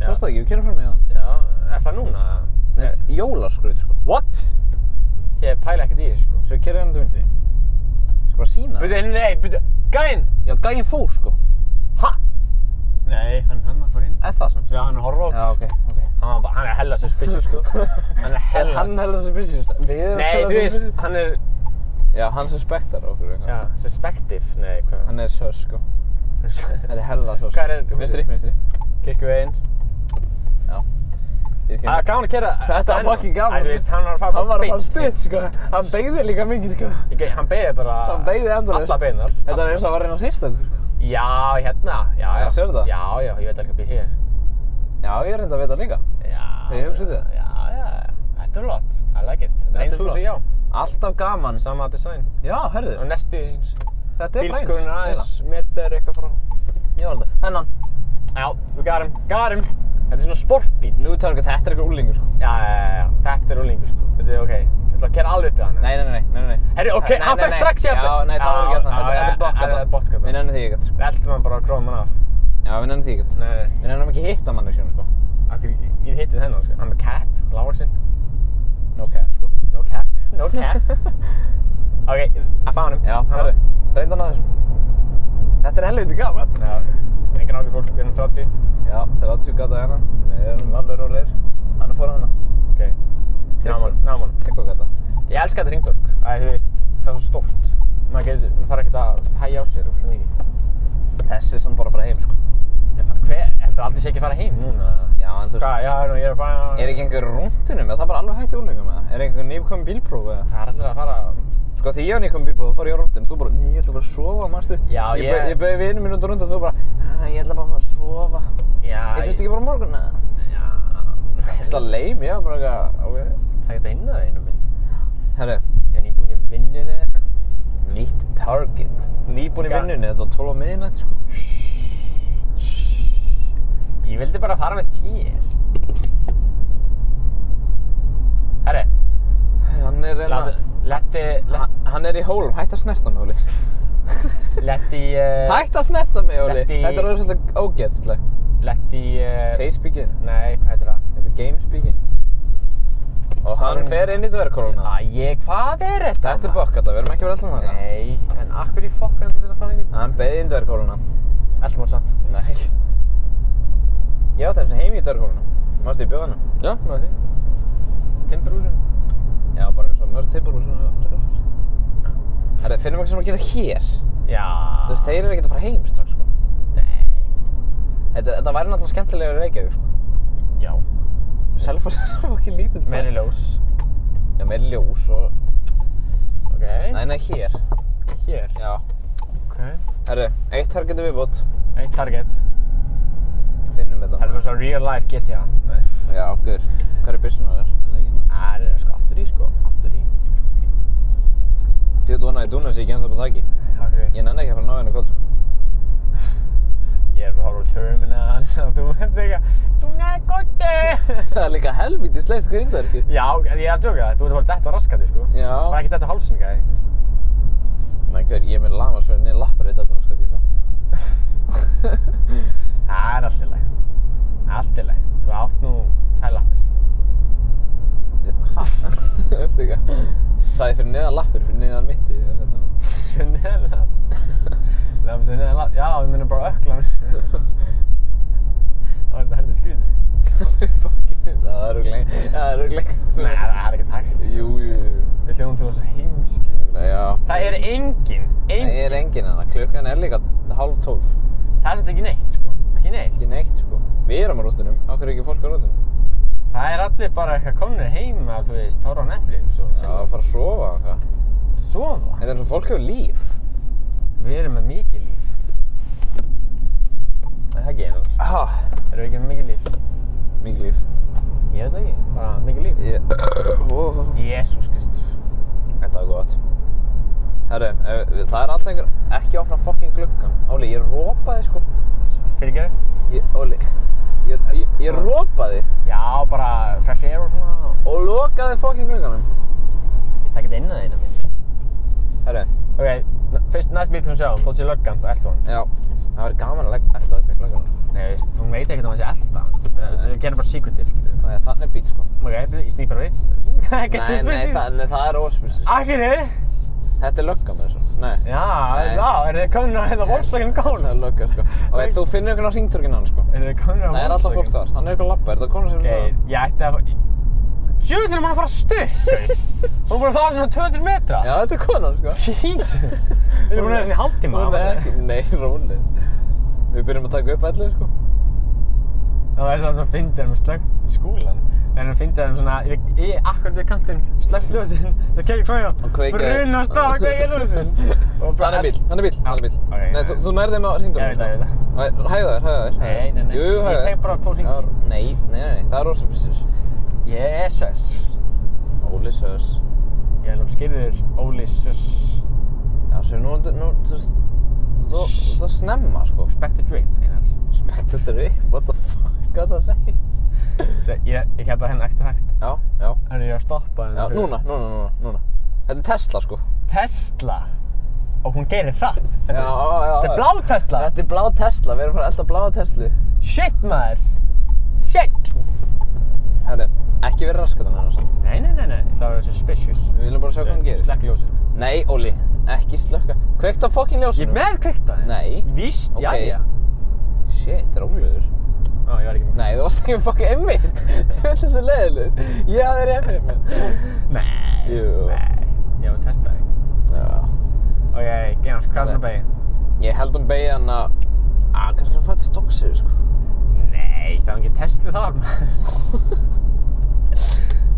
A: Já.
B: Sástu það ekki, við kynum fram í þann.
A: Já, er það núna?
B: Nei,
A: Er-
B: jólaskraut, sko.
A: What? Ég pæla ekkert í þessu, sko.
B: Svo kerði hann til vinstri. Ég Skal bara sína það.
A: Byrju, nei, byrju, gæinn!
B: Já, gæinn fór sko.
A: Ha? Nei, hann hann að fara inn.
B: Er það sem?
A: Já, hann er horfa okkur.
B: Já, ok, ok.
A: Hann var bara, hann er hella suspicious, sko. Hann er
B: Er
A: hella...
B: hann hella suspicious? Við erum
A: Nei,
B: hella
A: þú veist,
B: suspicious.
A: hann er,
B: Já, hann suspektar okkur eitthvað.
A: já, suspective, nei, hvað?
B: Hann er sös sko. Hann er hella sös.
A: Hvar er húsið?
B: Vinstri, vinstri.
A: Kirkjuveginn.
B: Já. Ég er ekki-
A: Það er Ah, gaman að kera
B: Þetta var fucking gaman.
A: Æ, þú veist, hann var að fara
B: Hann var að fara
A: beint.
B: stutt sko. Hann beigði líka mikið sko.
A: Ég ge- Hann beigði bara
B: Hann beigði endalaust.
A: Alla Ah, beinar
B: Þetta var eins og hann var að reyna að hrista okkur sko.
A: Já, hérna Já,
B: Já, sérðu það?
A: Já, já, ég veit alveg hvað býr hér
B: Já, ég er reynda að veita líka.
A: Já
B: Þið hugsið þið?
A: Já, já, já Þetta er flott I like it Þetta
B: er
A: eins húsi,
B: flott.
A: já
B: Alltaf gaman.
A: Sama design
B: Já, hörðu.
A: Og næstu eins
B: Þetta er bæns.
A: Bílskurinn er aðeins Meter eitthvað frá
B: Já, þetta. Þennan.
A: Já, við garum Garum Þetta er svona sportbíl
B: Nú targu, þetta er eitthvað úlingur sko.
A: Já, já, já, já Þetta er úlingu, sko Þetta er ok Ég ætla að kera alveg upp í hann
B: Nei, nei, nei, nei, nei.
A: Herri, ok,
B: Nei,
A: hann
B: nei,
A: fer
B: nei.
A: strax í þetta.
B: Já, nei, það var ekki
A: Já,
B: hérna.
A: já,
B: Þetta þetta er
A: já,
B: bokkata.
A: þetta er bokkata.
B: Við nennum því ekkert, sko.
A: Við ætlum hann bara að króa mann af
B: Já, við nennum því ekkert.
A: Nei, nei, nei
B: Við nennum ekki hitta manneskjum, sko.
A: Akkur, ég hitti þennan, sko. hann er cap, lágvaksinn,
B: No cap, sko.
A: no cap, no cap. ok, að fá hann.
B: Já, herru, reyndan að þessum. Þetta er helviti gaman.
A: Já, engin ákveð fólk, við erum 30.
B: Já, 30 gata hérna. Við erum alveg rólegir. hann er fór hana
A: Ok. Náman, náman.
B: Tryggva gata
A: Ég elska þetta ringdorg. Æ, þú veist, það er svo stórt. Maður getur, maður þarf ekkert að hægja á sér og alltaf mikið.
B: Þessi er samt bara að fara heim sko
A: Ég þarf, hver, heldur aldrei sé ekki að fara heim núna?
B: Já, en þú veist
A: Hvað, já, nú, ég er að fara...
B: Er ekki einhver rúndunum eða það er bara alveg hægt úlengum eða Er einhver nýfkom bílpróf eða
A: Það er allir að fara...
B: Sko því ég var nýfkom bílpróf þá fór ég á rúndunum Þú bara, ný, ég ætla bara að sofa, manstu
A: Já,
B: Ég bauð-
A: ég-
B: Ég bauði vinum minn út á rúndunum þú bara, "Ah, ég ætla bara að fara að sofa
A: Já,
B: Ég veist ekki bara á morgun eða
A: Já,
B: Þetta leim, já, bara eitthvað ok.
A: Það geta inn að það einu minn.
B: Herru,
A: Ég er nýbúin í vinnunni eða eitthvað.
B: nýtt target Nýbúin í
A: Ga-
B: vinnunni, þetta var 12 á miðinætti sko
A: Ég vildi bara fara með þér. Herri,
B: Hann er reyna
A: látu- letti, le-
B: Hann- Hann er í hólum, hætt að snerta mig, Óli
A: letti, eh,
B: Hætt að snerta mig, Óli
A: Letti-
B: Þetta er orðið svolítið ógeðslegt
A: letti, eh,
B: Case speaking,
A: nei, hvað heitir það?
B: þetta er game speaking Og hann
A: Sam-
B: fer inn í dvergkóluna
A: Æ, hvað er þetta?
B: Þetta er bökkata, við erum ekki verið alltaf þarna
A: Nei, en akkur í fokkan þetta er að fara inn í
B: Hann beði inn dvergkóluna
A: Elmór samt
B: Nei Ég átti hans heim í dvergkóluna Mástu ég bjóða hana?
A: Já, með því Timberúsin
B: Já, bara eins og mörg tippur úr svona Herra, finnum eitthvað sem að gera hér
A: Já
B: Þú veist, þeir eru ekkert að fara heim strax, sko
A: Nei
B: Þetta, þetta væri náttúrulega skemmtilega í Reykjavík, sko
A: Já
B: Selfoss er svo fokkið lítill bær.
A: Meiri ljós
B: Já, meiri ljós og...
A: Ok
B: Nei, nei, hér
A: Hér
B: Já
A: Ok
B: Herru, eitt targeti viðbót
A: Eitt target
B: Finnum þetta
A: Það er bara svo real life GTA Nei
B: Já, okkur Hvað er byrsunar þér? Er það ekki hérna?
A: Það er sko aftur í sko Aftur í
B: Þú vil vona að ég dúna sér ekki ennþá bara þakki
A: Akkur
B: Ég nenni ekki að fara að ná henni kvöld sko
A: Ég er bara að horfa á Terminal og Þú veist eitthvað Þú neð gotti
B: Það er líka helvítið sleipt gríndarki
A: Já, en ég er að djóka það Þú ert að fara detta og raskati sko
B: Já.
A: Bara ekki detta á hálsinn gæði
B: Nei, gaur, ég er með lamarsverðin í lappar þetta tróskati sko
A: Það er allt í lagi. Allt í lagi. Þú átt nú tvær lappir.
B: Ha? Þetta ekki Sæði fyrir neðan lappir, fyrir neðan mitti ég er þetta
A: Fyrir neðan lapp. Lapp sem neðan lapp. Já, við munum bara ökla hann. Það var þetta heldur skrítið.
B: Það er fucking Það er rúglega Það er
A: Nei,
B: rúglega
A: það er ekki takt.
B: Jú, jú, jú
A: Við hljóðum til þessu heimski.
B: Örugglega, Já
A: Það er engin,
B: Það er e-
A: engin.
B: engin hana, klukkan er líka hálf tólf
A: Það er svolítið ekki neitt, sko. Ekki neitt.
B: Ekki neitt sko Við erum á rútunum, okkur er ekki fólk á rútunum
A: Það er allir bara eitthvað konur heima, þú veist, horfa á Netflix og
B: Já, að fara að sofa og eitthvað
A: sofa.
B: Þetta er eins og fólk hefur líf
A: Við erum með mikið líf. Það er ekki einhvers.
B: Ha,
A: Erum við ekki með mikið líf?
B: mikið líf
A: Ég veit það ekki, bara mikið líf.
B: Ég... Ó,
A: Jésús Kristus.
B: Þetta var gott Herru, ef- það er alltaf einhver Ekki opna fokkin gluggan Óli, ég rópaði sko
A: Fyrirgeðu?
B: ég, Óli, ég, ég, ég rópaði
A: Já, bara fresh air og svona. og
B: Og lokaði fokkin glugganum
A: Ég tek þetta inn að einu minn.
B: Herru,
A: Ok, n- fyrst næst bíl hún sjáum, tótt sér löggan, þú eldu hann.
B: já Það væri gaman að leggja alltaf okkur glugganum
A: Nei, veist, hún veit ekkert að maður sé elda. Þú veist, Við gerum bara secretive, skilur.
B: Nei, þannig er bít sko
A: Ok, byrju, ég snýr bara við. Ekkert
B: Nei, nei,
A: suspicious.
B: það, nei, það er óspysis
A: Akkur er?
B: Þetta er löggan með þessu Nei
A: Já,
B: Nei.
A: já, er þið komin að hérna Volkswagen
B: Það
A: Golf?
B: er löggan sko
A: Nei.
B: Ok, þú finnir einhvern á hringtorkinu hann sko
A: Er þið komin að
B: Það er
A: Volkswagen?
B: alltaf fólk þar, hann er eitthvað labba, er þetta konan sem
A: Geir, ég ætti að... Sjöður hún er búin að fara stutt, gaur. Hún er búin að fara svona 200 metra.
B: Já, þetta er konan, sko.
A: Jesus. Við erum búin að vera svona í hálftíma.
B: Hún er ekki, nei, róli. Við byrjum að taka upp allir, sko.
A: Það var svona svo fyndið hann með slögt skúlan. En hann fyndið hann svona, ég, ég akkurat við kantinn, slögt ljósin, það kegir fram hjá,
B: kveikir.
A: brun á stað og kveikir ljósin. Og bara
B: Hann er bíl, hann er bíl, hann er bíl.
A: Já, ok,
B: nei,
A: já,
B: þú,
A: já.
B: þú nærðið með hringdórum.
A: Ég veit það, ég veit það.
B: það. Hæða þér, hæða þér.
A: Nei, nei, nei.
B: Jú, hæða
A: Ég
B: þér.
A: tek bara tvo hringi.
B: Já, Nei, nei, nei, nei, það er ósupsins.
A: Ég er sös.
B: Óli sös.
A: Ég held að skilja þér Óli sös.
B: Já, svo nú, nú, þú veist, þú, þú, þú snemma, sko.
A: Back to drip, einar.
B: Spekt þetta er upp, what the fuck, hvað það segir?
A: Svo ég, ég kef bara henni ekstra hægt.
B: Já, já,
A: Þannig ég var að stoppa henni.
B: já, núna, núna, núna, núna. Þetta er Tesla, sko.
A: Tesla. Og hún gerir hratt.
B: Já, já, já.
A: Þetta er blá Tesla.
B: Þetta er blá Tesla, við erum bara alltaf blá Tesla.
A: Shit, maður. Shit.
B: Herri, ekki verið raskatan hennar samt.
A: Nei, nei, nei, nei. Það var suspicious.
B: Við viljum bara sjá hvað hann gerir.
A: Slekk ljósin.
B: Nei, Óli, ekki slökka. Kveikt á fokkin ljósinu.
A: Ég meðkveikta þið?
B: Nei.
A: Víst,
B: Ok.
A: jæja.
B: Shit, rólegur.
A: Já, ég var ekki með
B: Nei, þú varst ekki með fucking einmitt. Þú veit þetta leiðileg. Ég hafði þér einmitt með.
A: Nei,
B: Jú.
A: nei, ég var að testa þig.
B: Já.
A: Ok, Genars, hvað er hann að beigja?
B: Ég held hún beigja hann að... Á, kannski hann fæði til Stokkseyri, sko.
A: Nei, það var ekki Tesla þar, maður.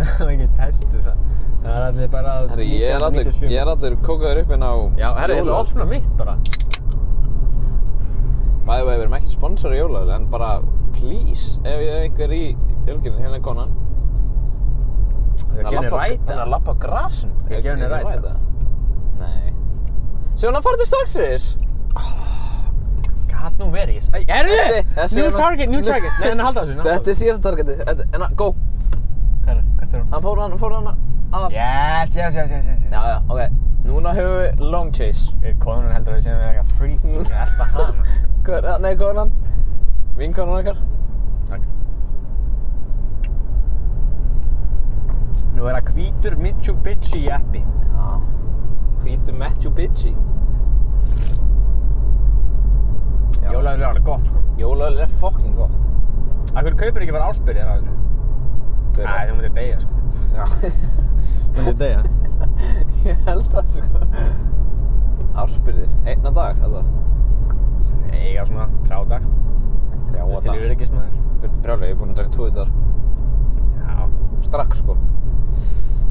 A: það var ekki Tesla þar. Það er allir bara...
B: Herri, ég er allir,
A: 1997.
B: ég er allir kókaður upp inn á...
A: Já, herri, ég ætla að
B: jólaöl.
A: opna mitt bara.
B: By the way, við erum ekki sponsor í jólaður, en bara, please, ef ég hef einhver í jölginni, hérna er konan.
A: Það er genið
B: Hann er að
A: ræta.
B: lappa grasin.
A: Ég gef henni ræta.
B: Nei. Sjá hann að fara til Stokkseyris.
A: Gat nú verið, ég... Æ, Herri!
B: Þessi- þessi
A: New
B: er nú-
A: target, new target. Nei, en halda þessu, halda
B: Þetta er síðasta targetið. Þetta- En, að- go.
A: Hvað er það? Hvert er hún?
B: Hann fór hann, fór hann að...
A: Yes, yes, yes, yes, yes.
B: Já, já, ok. Núna höfum við long chase.
A: Ég konun heldur að við séum við eitthvað freaking að elta hana, sko.
B: Hver, eh, nei, konan. Vinkonan okkar.
A: Takk. Nú er það hvítur Mitsubishi jeppi.
B: Já. Hvítu Matthew Bitchy.
A: Jólaður er alveg gott, sko.
B: Jólaöl er fucking gott.
A: Akkur kaupir ekki bara áspyrjar af þessu? Æ,
B: Hver er-
A: þú myndir deyja, sko.
B: Já.
A: Myndir deyja?
B: Ég held það sko. Ársbyrðir. Einna dag, eða?
A: Eiga svona þrjá dag.
B: Þrjá
A: Þetta er
B: dag.
A: ekki smaður.
B: Þetta er brjálega, ég er búinn að draka tvo í dag sko.
A: Já.
B: Strax sko.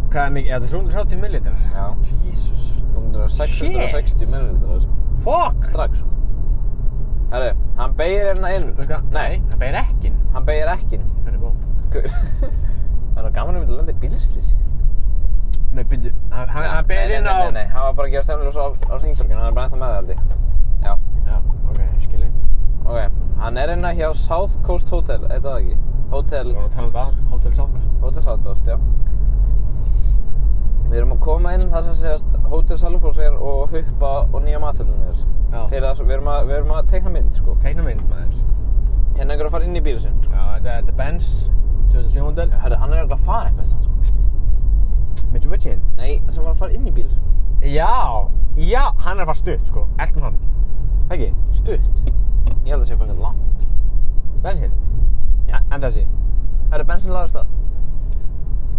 A: Hvað er mikið? Þetta er 330 millilitrar.
B: Já.
A: Jesus.
B: Búinn að draka 660
A: Shit.
B: millilitra sko.
A: Fuck!
B: Strax sko. Herru, hann beigir hérna inn.
A: Veistu hvað?
B: Nei,
A: það beir ekkin.
B: hann beigir ekki inn.
A: Það er góð.
B: Gaur. Það er nú gaman að mynda að landa í bílslýsi.
A: Nei, byrju. Hann- Hann hann
B: Nei,
A: beir
B: nei,
A: inn á...
B: Nei, nei, nei, hann var bara að gera stefnuljós á, á ringtorkinu, hann er bara ennþá með það held ég. Já,
A: Já, ok, ég skilji.
B: ok. Hann er hérna hjá South Coast Hotel, er það ekki? Hotel,
A: Við vorum að tala um þetta aðeins, sko. Hotel Salkost.
B: Hotel South Coast, já. Við erum að koma inn það sem segast Hotel Salfors er og Huppa og nýja matöldin er.
A: Já.
B: Fyrir það, sem- við erum, að, við erum að teikna mynd, sko.
A: Teikna mynd, maður.
B: Hérna er einhver að fara inn í bílinn sinn, sko.
A: Já, þetta þetta er Benz 2007 model.
B: Herru, hann er eitthvað að fara eitthvað, stann, sko.
A: Mitsubishi hinn.
B: Nei, sem var að fara inn í bílinn sinn.
A: Já. Já, hann er að fara stutt, sko. Eltum hann. Ekki?
B: Stutt. Ég held að sé að fara eitthvað langt.
A: Bensin?
B: Já.
A: En þessi?
B: Herru, bensin lagast það.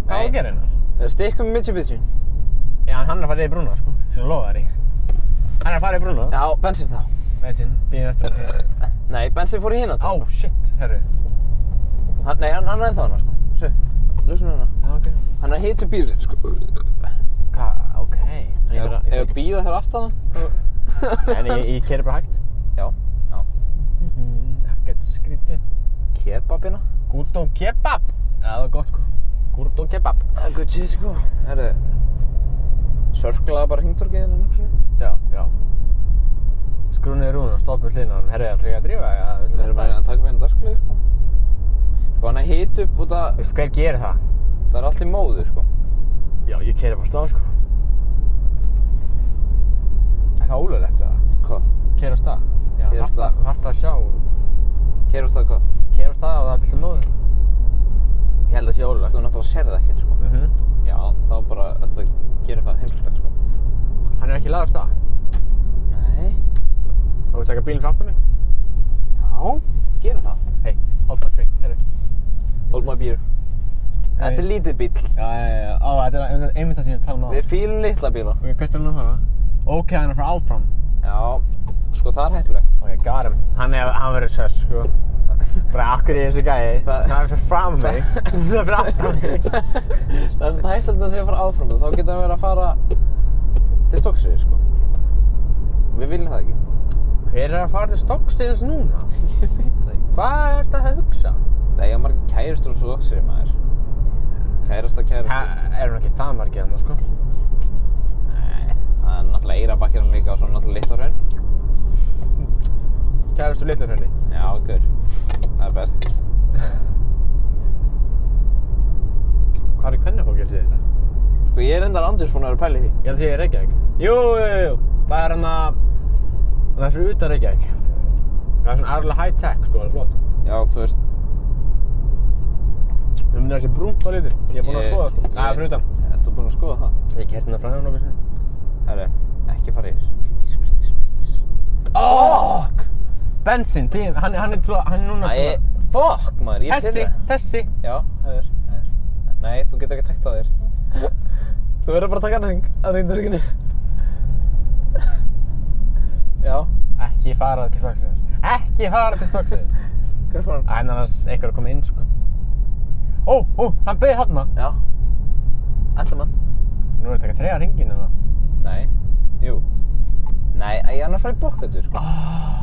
A: Hvað á að gera hennar?
B: Stikkum um Mitsubishi.
A: Já, en hann er að fara í brúna, sko. Sem lofaði þér í. Hann er að fara í brúna.
B: Já, bensin þá.
A: Bensin, býðum eftir hann.
B: Nei, bensin fór í hinn
A: Á, shit, herru.
B: Hann, nei, hann, hann er ennþá hana, sko. Sjö, lusna hana.
A: Já, ok.
B: Hann er að hita bíl, sko.
A: Hva, ok. Þannig ég
B: Ef
A: bara, ég,
B: ef að býða þér aftan hann?
A: en ég, ég keri bara hægt.
B: Já, já.
A: Ekkert Mhm, skrítið.
B: Kebabina?
A: Gurdó kebab. Já, það var gott, sko. Gurdó kebab.
B: Það er gutt sér, sko. Herru, sörklaða bara hringtorkið hennar nokkusunni.
A: Já, já. Skrúnið í rúðuna, stoppum við hliðina á hann. Herru, ætlum ég að drífa? Já, við
B: Við erum
A: ætlum
B: bara að reyna
A: að
B: að taka við hennar dagskalegi, sko. Sko, hann er hita upp út að,
A: Þú veist, hver gerir það?
B: það er allt í móðu, sko.
A: Já, ég keri bara stað, sko. Er það ólulegt, eða?
B: Hvað?
A: Kera á stað? Já,
B: Keyra af
A: þarft
B: stað.
A: að- þarft að sjá
B: Kerust það hvað?
A: Kera á stað og það er fullt af móðu Ég held að sé ólulegt
B: Þú náttúrulega sér það ekkert, sko.
A: mm
B: Já, þá bara, þetta gerir eitthvað heimsklegt, sko.
A: Hann er ekki lagður af stað
B: Nei.
A: Þú veist ekki að bílinn frá aftan mig?
B: Já, gerum það.
A: Hei, hold my drink, herru
B: Hold my beer. Þetta er lítið bíl.
A: Já, já, já, já, á, þetta er einmitt- einmitt það sem ég er að tala um á
B: Við fýlum litla bíla.
A: Ok, hvert er hann að fara? Ok, hann er að fara áfram
B: Já, sko það er hættulegt.
A: Ok, got him Hann er, hann verður sess, sko Bara akkur í þessu gæi
B: Það-
A: Það er fyrir fram mig Það er fyrir aftan mig
B: það er svona hættulegt að sé að fara áfram þá getur hann verið að fara til Stokkseyri, sko. Við viljum það ekki.
A: Hver er að fara til Stokksteins núna?
B: Ég veit það ekki.
A: Hvað ert að hugsa?
B: Nei, ég har margir kærustur á Stokkseyri, maður. Kærasta,
A: Ha,
B: kærustur.
A: er hann ekki það margið hann, sko?
B: Nei, það er náttúrulega Eirabakkirinn líka og svo náttúrulega Littorhraun.
A: Kærastu litlur henni
B: Já, okkur. Það er best.
A: Hvað er kvennafókjálsið þetta?
B: Sko, ég er endar andurs búinn að vera að pæla í því.
A: Ég held að því ég er Reykjavík. Jú, jú, jú, jú. Það er hann að... Það er fyrir utan Reykjavík. Það er svona aðurlega high tech, sko, það er flott.
B: Já, þú veist,
A: Við minnum þessi brúnt á litur. Ég er búinn að
B: Ég-
A: skoða, sko.
B: ég-
A: Það er fyrir utan.
B: erst þú búinn að skoða það?
A: Ég kerti hérna fræðan okkur sinni.
B: Herru, ekki fara yfir. Please, please, please.
A: Fuck! Bensin, bíðum, hann, hann er trúlega, hann er núna
B: Æ,
A: trúlega.
B: Fuck maður, ég
A: Þessi,
B: pirra.
A: þessi.
B: Já, höfður, höfður. Nei, þú getur ekki tækt að þér. Þú verður bara að taka hann hring, að reyndurkinu. Já,
A: Ekki fara til stokksins. Ekki fara til stokksins.
B: hver fór hann?
A: En annars einhver er komið inn, sko. Ó, ó, hann beði þarna.
B: Já. Ætla mann.
A: Nú erum við að taka þreja ringin eða.
B: Nei. Jú. Nei, æ, hann er að fara í bókvöldu, sko.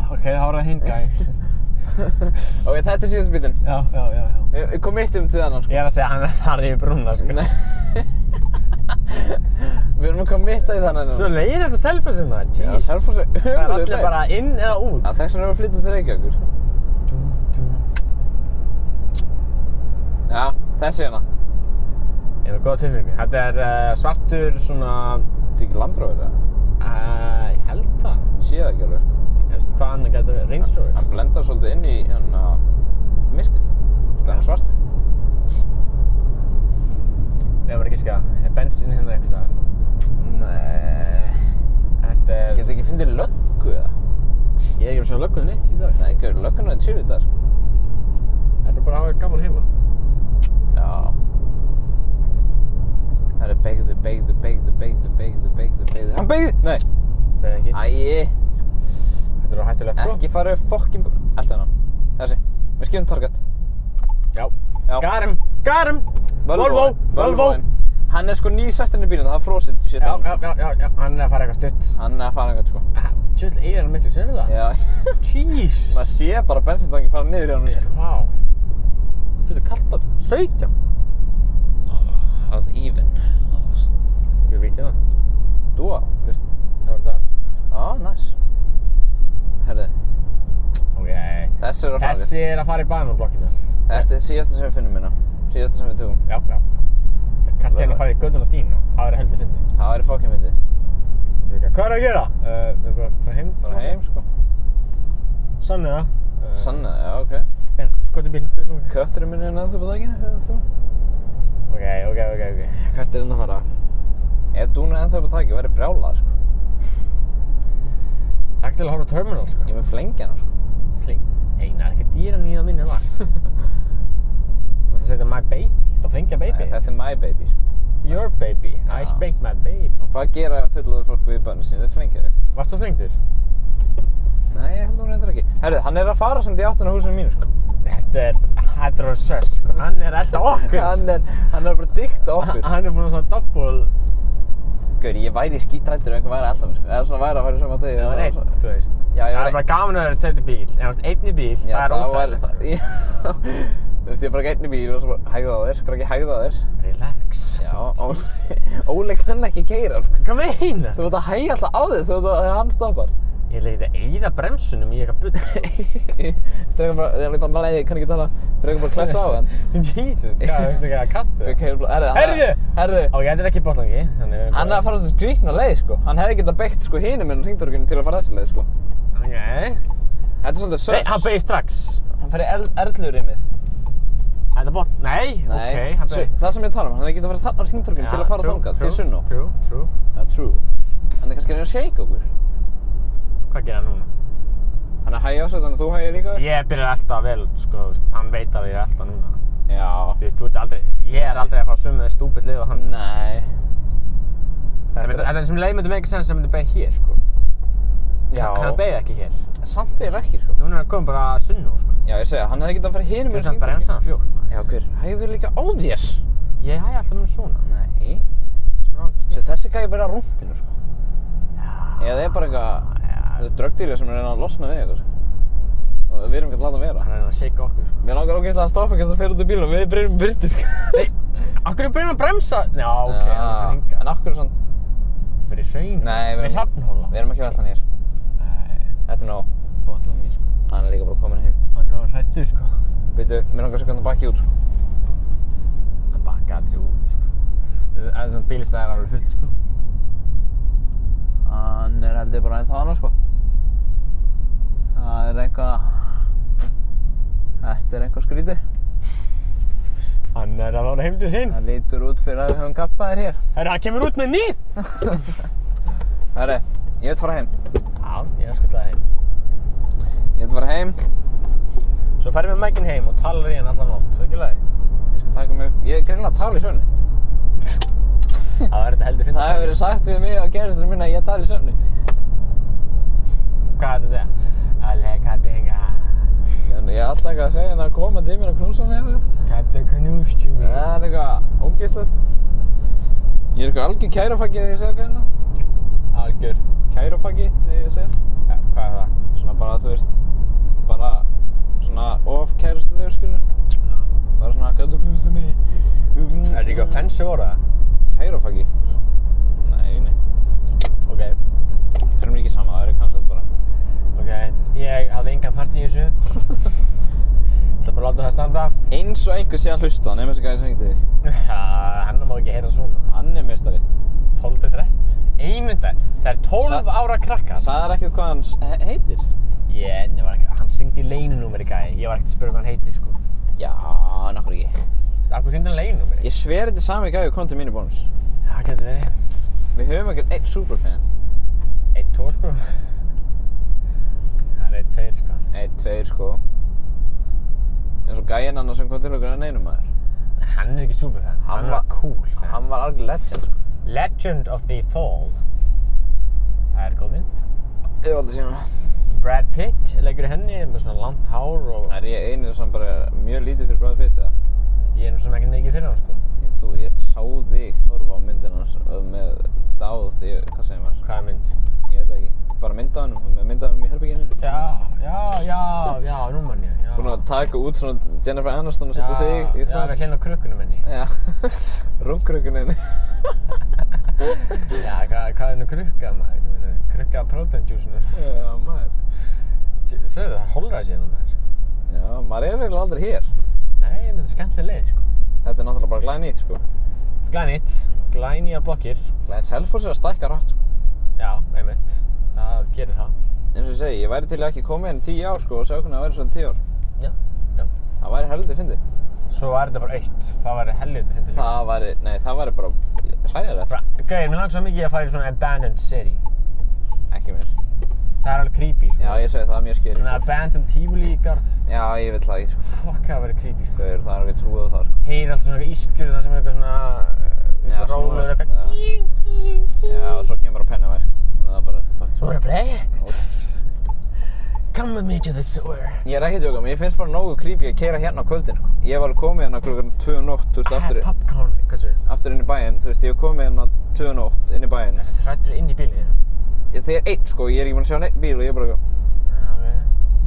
A: Ok, það var að hinga í.
B: Ok, þetta er síðast bítinn.
A: já, já, já, já.
B: Ég, ég kom eitt um til þannan, sko.
A: Ég er að segja hann er farið í brúna, sko.
B: Nei. Við erum að koma mitt að í þannan.
A: Svo leiðir þetta selfie maður,
B: Já,
A: jeez.
B: Selfoss er
A: Það er
B: ömurlegur
A: allir
B: bær.
A: bara inn eða út.
B: Að þess vegna erum við að flytja til Reykjavíkur, sko. Já, þessi hérna.
A: Ég hef góða tilfinningu. Þetta er uh, svartur svona,
B: Þetta er ekki landróður, eða?
A: uh, ég held það.
B: Sé það ekki alveg, sko.
A: Ég veist hvað annað gæti að vera, Range Rover.
B: Hann blendar svolítið inn í hérna myrkrið. Það er hann svartur.
A: Ég var ekki að skilja, er bensin hérna eitthvað staðar?
B: Nei.
A: Þetta er,
B: Getur ekki fundið löggu eða?
A: ég er ekki að sjá lögguð neitt í dag.
B: Nei, ekki, löggan er chill í dag. sko.
A: Það er bara að hafa gaman heima.
B: Já. Það er beigðu, beigðu, beigðu, beigðu, beigðu, beigðu, beigðu. Hann beigði! Nei.
A: Það er ekki,
B: Æi.
A: þetta er á hættulegt sko.
B: Ekki farið fokkin... Alltaf hennan. hérna. Þessi. Við skilum target.
A: Já.
B: Já.
A: Garum, garum,
B: Volvoinn, Volvoinn. Hann er sko ný sesturinn í bílinn, það er frosið sér
A: Já,
B: stafn.
A: já, já, já, já, hann er að fara eitthvað stutt.
B: Hann er að fara einhvern sko.
A: Tjöld, eigir hann miklu, sérðu það?
B: Já.
A: Jeez.
B: Maður sé bara bensintangi fara niður í honum. sko.
A: Vá. Þetta er kallt að 17.
B: Það er even.
A: Ég veit ég það.
B: Dúa?
A: Just, það var það.
B: Á, næs. Herði,
A: Ok.
B: þessi er að fara
A: Þessi er að fara í banablokkinar.
B: við. Þetta er síðasta sem við finnum hérna. Síðasta sem við tökum.
A: Já, já, já. Kannski hérna að fara í göduna þína. Það verður heldur fyndið.
B: Það væri fokkin fyndið.
A: Þú veit ekki, Hvað er að gera? Uh, við erum bara að fara heim.
B: Bara heim, sko.
A: Sannið það. Uh,
B: Eh. Sanna, já, ok.
A: En, hvað er Hérna, bílinn? Drullum við.
B: Kötturinn minn er neður på daginn, hérna þú.
A: Ok, ok, ok, ok.
B: Hvert er hann að fara? Ef dún er ennþá upp á þakki, væri brjálað, sko.
A: Takk til að horfa á Terminal, sko.
B: Ég mun flengja hana, sko.
A: Fling. Einar, ekki dýran í það minni lag. Þú veist að setja My Baby. Þetta er flingja baby.
B: Nei, Eh, þetta er my baby, sko.
A: Your baby. I
B: Já.
A: spanked my baby.
B: Og hvað gera fullaður fólk við bönni sín? Þau flengja þau.
A: Varst þú flingdur?
B: Nei, ég held hún reyndar ekki. Herðu, hann er að fara samt í áttina að húsinu mínu, sko.
A: Þetta er, þetta er að sös, sko. Hann er alltaf okkur.
B: hann, er, hann er bara dikt okkur.
A: Hann er búinn að svona doppul.
B: Gaur, ég væri skítrættur ef einhver væri alltaf, sko. Eða svona væri að fara í sama degi.
A: Það var einn, þú veist.
B: Já,
A: Það
B: ég var
A: er bara
B: einn.
A: gaman að vera tveir í bíl. En ef þú ert einn í bíl,
B: Já,
A: það er
B: það var
A: óþægilegt. sko.
B: það. Já, þú veist, ég er bara gætni bíl og svo bara hægða á þér, skar ekki hægða á þér.
A: Relax.
B: Já, Ó- Óli kann ekki keira, sko.
A: Hvað meina?
B: Þú veit að hægja alltaf á þig þegar hann stoppar.
A: Ég leiti að eyða bremsunum í eitthvað bull.
B: Strengar bara, þegar hann líka bara, nei, ég kann ekki tala. Strengar bara að klessa á hann.
A: Jesus, hvað, veistu hvað, kastu
B: Við
A: það?
B: keirum bara, herðu,
A: Herðu!
B: Herðu!
A: Ok, þetta er ekki botlangi, þannig við
B: Hann er að fara þessi skrýtna leið, sko. Hann hefði getað beitt, sko, hinum en hringdorginu til að fara þessi leið, sko.
A: Ok.
B: Þetta er svolítið
A: Nei, hann
B: sös.
A: beigir strax.
B: Hann fer í erl- erlurýmið.
A: Þetta er botn, nei,
B: Nei,
A: ok, hann
B: su-
A: beigir.
B: það sem ég tala um, hann hefði getað farið þarna á hringtorginu til að fara þangað, til Sunnó.
A: True, true.
B: Já, true. Hann er kannski að reyna að shake okkur.
A: Hvað gerir hann núna?
B: Hann er að hægja á sig þannig að þú hægja líka.
A: Ég byrjar alltaf vel, sko, þú veist, hann veit að ég er alltaf núna.
B: Já.
A: Þú veist, þú ert aldrei, ég er aldrei að fara að summa þig stúpid lið á hann. sko.
B: Nei.
A: Það myndi- Þetta er sem leið myndi með ekki sens að myndi beigja hér, sko. Hann
B: Já.
A: beigja ekki hér.
B: Samt er ekki, sko.
A: Núna er hann komið bara að sunna, sko.
B: Já, ég segja, hann hefði getað farið hinum
A: Þú
B: yfir
A: veist, hann bremsa hann fljótt. maður.
B: Já, hver, hægðu líka á þér.
A: Ég hæ alltaf með svona,
B: Nei.
A: sem er á að
B: Svo
A: gera.
B: þessi gæði bara á rúntinu, sko. Eða er bara eitthvað, þú
A: Ah, Já,
B: veist, draugdýrið sem er að reyna að losna við eitthvað, sko. Og við erum ekki að láta hann vera.
A: hann er að reyna að shake okkur, sko.
B: Mér langar ógeðslega að hann stoppa kannski að fyrir út í bílum og við breynum byrti, sko.
A: Nei, akkur er byrjun að bremsa? Já, ok, hann er að
B: Já, En
A: ringa.
B: af hverju svona,
A: Fyrir hraun?
B: Nei, við
A: við
B: erum-
A: hrafnhóla.
B: við erum ekki að velta hann hér.
A: Nei,
B: Þetta er nóg.
A: botla mér, sko.
B: Hann er líka bara komin heim.
A: Hann er að hrættu, sko.
B: Býtu, mér langar að sekunda bakki út, sko.
A: Hann bakka aldrei út, sko. Það er svona bílstæðar alveg fullt, sko.
B: Hann er heldur bara einn þaðan, sko. Það er eitthvað... Þetta er eitthvað skrítið.
A: Hann er að fara heim til sín.
B: Það lítur út fyrir að við höfum gappaðir hér.
A: Herra, hann kemur út með nýð!
B: Herri, ég vil fara heim.
A: Já, ég er að skutlaði heim.
B: Ég vil fara heim.
A: Svo fer ég með mækinn heim og talar í hann allan nótt, það er ekki leiði.
B: Ég skal taka mig upp. Ég er greinlega að tala í sönni.
A: Það verður þetta heldur
B: Það hefur verið sagt við mig á gerðistur minna að ég tala í sönni.
A: Hvað er þetta að segja? Alle kattinga.
B: Ég er alltaf eitthvað að segja henni að koma til mér og knúsa mig eða eitthvað.
A: Kattu knústu mig.
B: Það er eitthvað ógeðslegt. Ég er eitthvað algjör kærofaggi þegar ég segja greinlega.
A: Algjör.
B: Kærofaggi þegar ég segja.
A: Ja, hvað er það?
B: Svona bara, þú veist, bara svona of kæristulegur skilur. Bara svona, gætu knúsa mig.
A: Er þetta ekki offensive orða?
B: Kærofaggi? Nei, nei.
A: Hm, Ok.
B: Hverjum er ekki sama, það eru cancelled bara.
A: Ok, ég hafði engan part í þessu. Ég ætla bara að láta það standa.
B: Eins og einhver sé að hlusta, nema þessi gæði sem hengdi þig.
A: Ha, Hann má ekki heyra svona.
B: Hann er mestari.
A: 12 til 13. Einmyndar. Það er 12
B: Sa-
A: ára krakkar.
B: Sæðar ekkert hvað hann s- he- heitir?
A: Ég, en ég var ekki, hann syngdi leinunúmeri gæði. Ég var ekkert að spyrja hvað hann heiti, sko.
B: Já, nokkur ekki.
A: Akkur syngdi hann leinunúmeri?
B: Ég sveri þetta sami gæði og kom til mínu bónus.
A: Það getur verið.
B: Við höfum ekkert eitt superfan.
A: Eitt, tvo, sko. Það er eitt, tveir, sko.
B: Eitt, tveir, sko. En svo gæðin annar sem kom til okkur en einum maður.
A: En Hann er ekki superfan.
B: Hann
A: Hann,
B: var-
A: var cool. fan.
B: Hann var alveg legend, sko.
A: Legend of the Fall. Það er góð mynd.
B: Ég valdi að sína það.
A: Brad Pitt leikur í henni með svona langt hár og
B: Það er ég einir sem bara er mjög lítið fyrir Brad Pitt, eða?
A: ég er nú svona ekkert mikið fyrir hann, sko.
B: Ég, þú, ég sá þig horfa á myndina hans ö, með dáð, ég, hvað segir maður?
A: Hvaða mynd?
B: Ég veit það ekki. Bara myndaðanum, með myndaðanum í herbygginu.
A: Já, já, já, já, nú mann ég, já.
B: Búin að taka út svona Jennifer Aniston og setja þig í
A: Já, já, við hlinn á krukkunum henni.
B: Já, rungkrökuninni.
A: Já, hvað, hvað er nú krukka, maður? Hvað meina, Krukka protein juice-num.
B: Já, maður.
A: Sveðu það, er holra síðan maður.
B: Já, maður er eiginlega aldrei hér.
A: Nei, en þetta er skemmtileg leið, sko.
B: Þetta er náttúrulega bara glænýtt, sko.
A: Glænýtt, glænýja blokkir.
B: Glæn Selfoss er að stækka rætt, sko.
A: Já, einmitt. Það gerir það.
B: Eins og ég segi, ég væri til að ekki koma hérna í tíu ár, sko, og sjá hvernig það væri svona tíu ár.
A: Já, já.
B: Það væri heldur fyndið.
A: Svo er þetta bara eitt. Það væri helviti fyndið líka.
B: Það væri, nei, það væri bara hræðilegt, sko.
A: Bara, Gauðir, mér langt svo mikið að fara í svona abandoned city.
B: Ekki mér.
A: Það er alveg creepy, sko.
B: Já, ég segi það er mjög skeri,
A: Svona
B: sko.
A: abandoned tífuli í garð.
B: Já, ég vil það ekki, sko.
A: Fuck, það væri creepy, sko.
B: Gauður, það er ekki trúið á það, sko.
A: heyri alltaf svona eitthvað ískur það sem er eitthvað svona
B: Já,
A: svona
B: svona-
A: rólur eitthvað
B: já. Já, og svo kemur bara Pennywise, sko. Það er bara, þetta er fucked, sko.
A: Wanna play?
B: Ótt.
A: Come with me to the sewer
B: Ég er ekki að djóka, mér finnst bara nógu creepy að keira hérna á kvöldin, sko. Ég var komið hérna klukkan 2 um nótt, þú veist,
A: I
B: aftur,
A: had popcorn Hvað sér?
B: aftur inn í bæinn, þú veist, ég var komið hérna 2 um nótt inn í bæinn.
A: Þetta rættur inn í bílinn þínu
B: Ég- Þegar ég er einn, sko, ég er ekki búinn að sjá neitt bíl og ég er bara, eitthvað,
A: Já,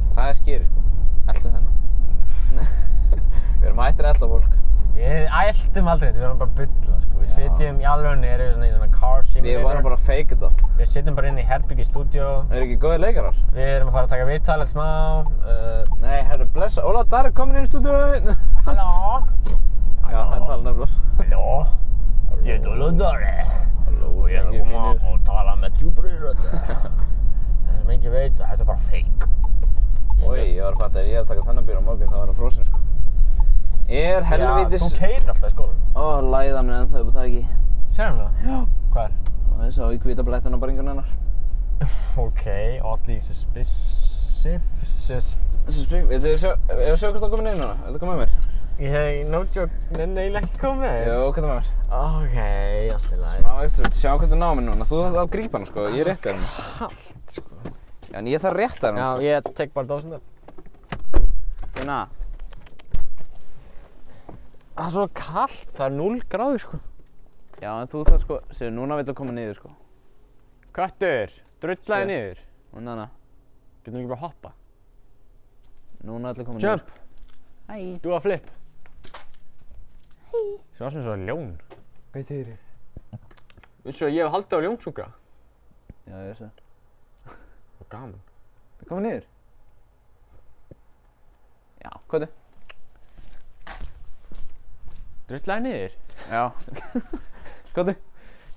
A: ok
B: það er skeri, sko. Eltum þennan. Við erum hættir að elda fólk.
A: Við æltum aldrei þetta, við varum bara að bulla sko Við
B: Já.
A: sitjum í alvegni, erum við svona í svona car simulator
B: Við varum bara að fake it allt.
A: Við sitjum bara inn í herbyggi stúdíó
B: Það eru ekki góðir leikarar.
A: Við erum að fara að taka viðtal eitt smá uh,
B: Nei, herru, blessa. Óla, Darri, komin inn í stúdíu.
A: Halló
B: Já, hann tala nefnilega.
A: Halló Ég heiti Olodari
B: Halló,
A: og ég er að koma og tala með djúbri rödd Það sem ekki veit, þetta er bara fake Ég
B: Oi, ég var að fatta, ef ég er að taka þennan bíl á morgun, þá er hann frosin, sko. Er helvitis...
A: Já, þú keyrir alltaf í skólan
B: Ó, læða mér ennþá upp á þakki.
A: Segðum við það? Já Hvað er?
B: Og ég sá í hvita blettina bara einhvern hennar.
A: Ok, oddly suspicious sus-
B: Þessi spring, veitu, ég sjá, ég sjá hvort það komin inn núna. Viltu koma með mér?
A: Ég hef no joke, neina ég lengt komið
B: Jó, hvað það með mér?
A: Ok, allt í lagi
B: Má eftir, sjá hvort það ná mér núna. Þú þarf að grípa hann, sko. Ég rétti hann.
A: Kallt sko
B: Já, en ég þarf að rétta hann.
A: Já, ég tek bara dósina
B: Gunna.
A: Það er svo kallt, það er 0 gráði sko
B: Já, en þú þarf, sko, séu, núna vil þú koma niður, sko.
A: Köttur, drullaði
B: Sér.
A: niður
B: Núna, núna.
A: Getum við ekki bara hoppa
B: Núna vil þú koma niður,
A: Jump,
B: sko. Hæ.
A: do a flip Hei Svo sem svo ljón
B: Hvað þýr ég?
A: Vissu að ég hef haldið á ljónsunga?
B: Já, ég veist það.
A: Það er gaman.
B: Viltu koma niður? Já, hvað þau?
A: Drullaði niður.
B: Já. hvað þau?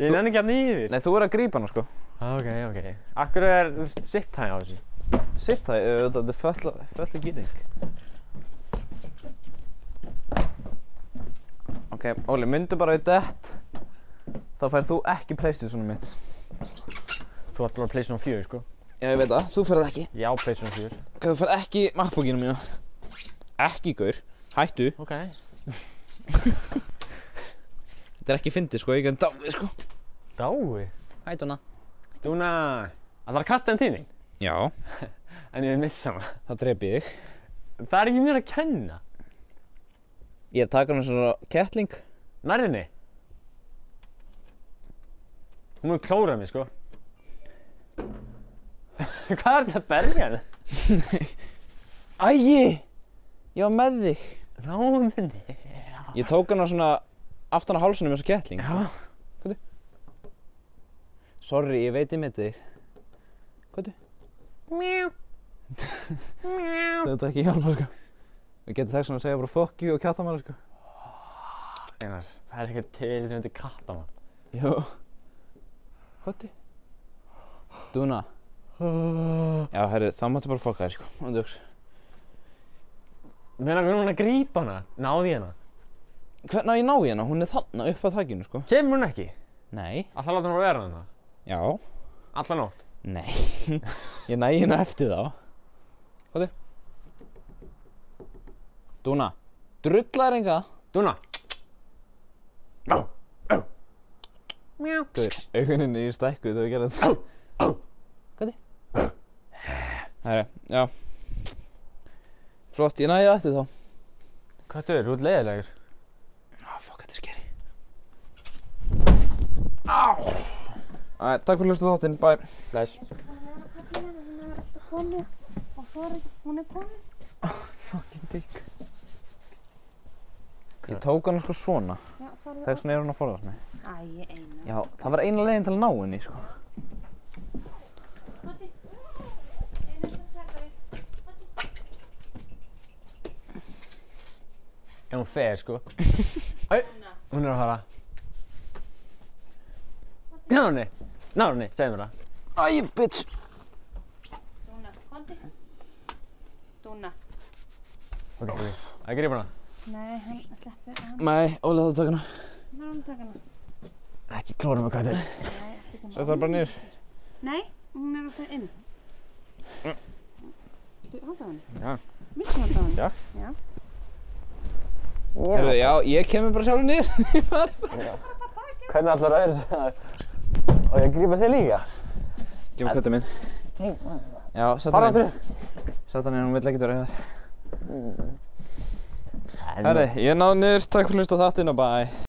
A: Ég nenni ekki að niður. Ah,
B: Nei, þú er að grípa hann, sko.
A: Ok, ok. Akkur er þú veist, sitt hæg á þessu?
B: Sitt það, þetta er föll- föll í gýting. Ok, Óli, myndu bara í dett. Þá færð þú ekki playstation mitt.
A: Þú ætti bara að pleysa um fjögur, sko.
B: Já, ég veit það. Þú færð ekki.
A: Já, pleysa um fjögur.
B: Hvað þú færð ekki MacBookinu mína. ekki gaur, hættu
A: ok
B: Þetta er ekki fyndið sko, ég gæði dáið sko
A: Dái
B: Hættu hana
A: Dúna Ætlar að kasta henni til mín?
B: Já,
A: En ég er mitt sama
B: það drepi ég þig
A: Það er ekki mér að kenna
B: Ég taka hana svona kettling
A: Nærðinni Hún er klórað mér sko Hvað er þetta að berja henni?
B: Æi, ég var með þig
A: Ráðinni
B: Ég tók hana svona aftan á hálsunum eins og kettling
A: Já
B: Sorry, ég veit ég með þig Hvað Þetta er ekki hjálpa sko Við getum þess að segja bara fuck you og kjáta maður sko
A: Einar, það er eitthvað til sem heitir kattamann
B: Jó Hvað Dúna Já, herru, það máttu bara fucka þér sko Og þú hugsa
A: Meðan við erum hún að grípa hana, náði ég hana
B: Hvernig á ég að ná í hana? Hún er þarna upp að þakkinu sko
A: Kemur hún ekki?
B: Nei
A: Alltaf láta hún að vera hana
B: Já
A: Alla nótt
B: Nei Ég næ hérna eftir þá Hvað Dúna Drullar enga
A: Dúna
B: Guður, auguninni í stækku þegar við gerðum þetta sko. Hvað þið? Herru, já Flott, ég næði það eftir þá
A: Hvað er þú ert leiðilegur?
B: Ah, fuck, þetta er skeri Á Æ, takk fyrir hlustu þáttinn, bye
A: Bless
C: Og svo er hún er komin.
B: Ég tók hann sko svona
C: Já, farðu
B: Þegar svona er hann að forðast mig
C: Æ, ég eina.
B: Já, það var eina leiðin til að ná henni, sko
A: Ef hún fer sko Æ, hún er að fara Náðu henni, náðu henni, segðu mér það
B: Æ, bitch
C: Dúna, kondi. Dúna.
A: Ok, ok, það grýpa hana
C: Nei, hann sleppur. Hann
B: Nei, Óli, það takk hana
C: hann er alveg takan hann.
A: Ekki klóra með hvað þetta er
C: Nei, ekki koma.
B: Svo það er bara nýr
C: Nei, hún er að fara inn. Þú, halda hann.
B: Já.
C: Viltu halda hann?
B: Já. Herru, já, ég kemur bara sjálfur nýr
A: Hvernig allar öðru sem það Og ég grýpa þig líka
B: Gjum köttu minn Já, sett
A: Fara
B: hann
A: aftur
B: inn Sett hann inn, hún vill ekkert vera hér
A: En-
B: Herru, ég náði nýr, takk fyrir hlustu þáttinn og bye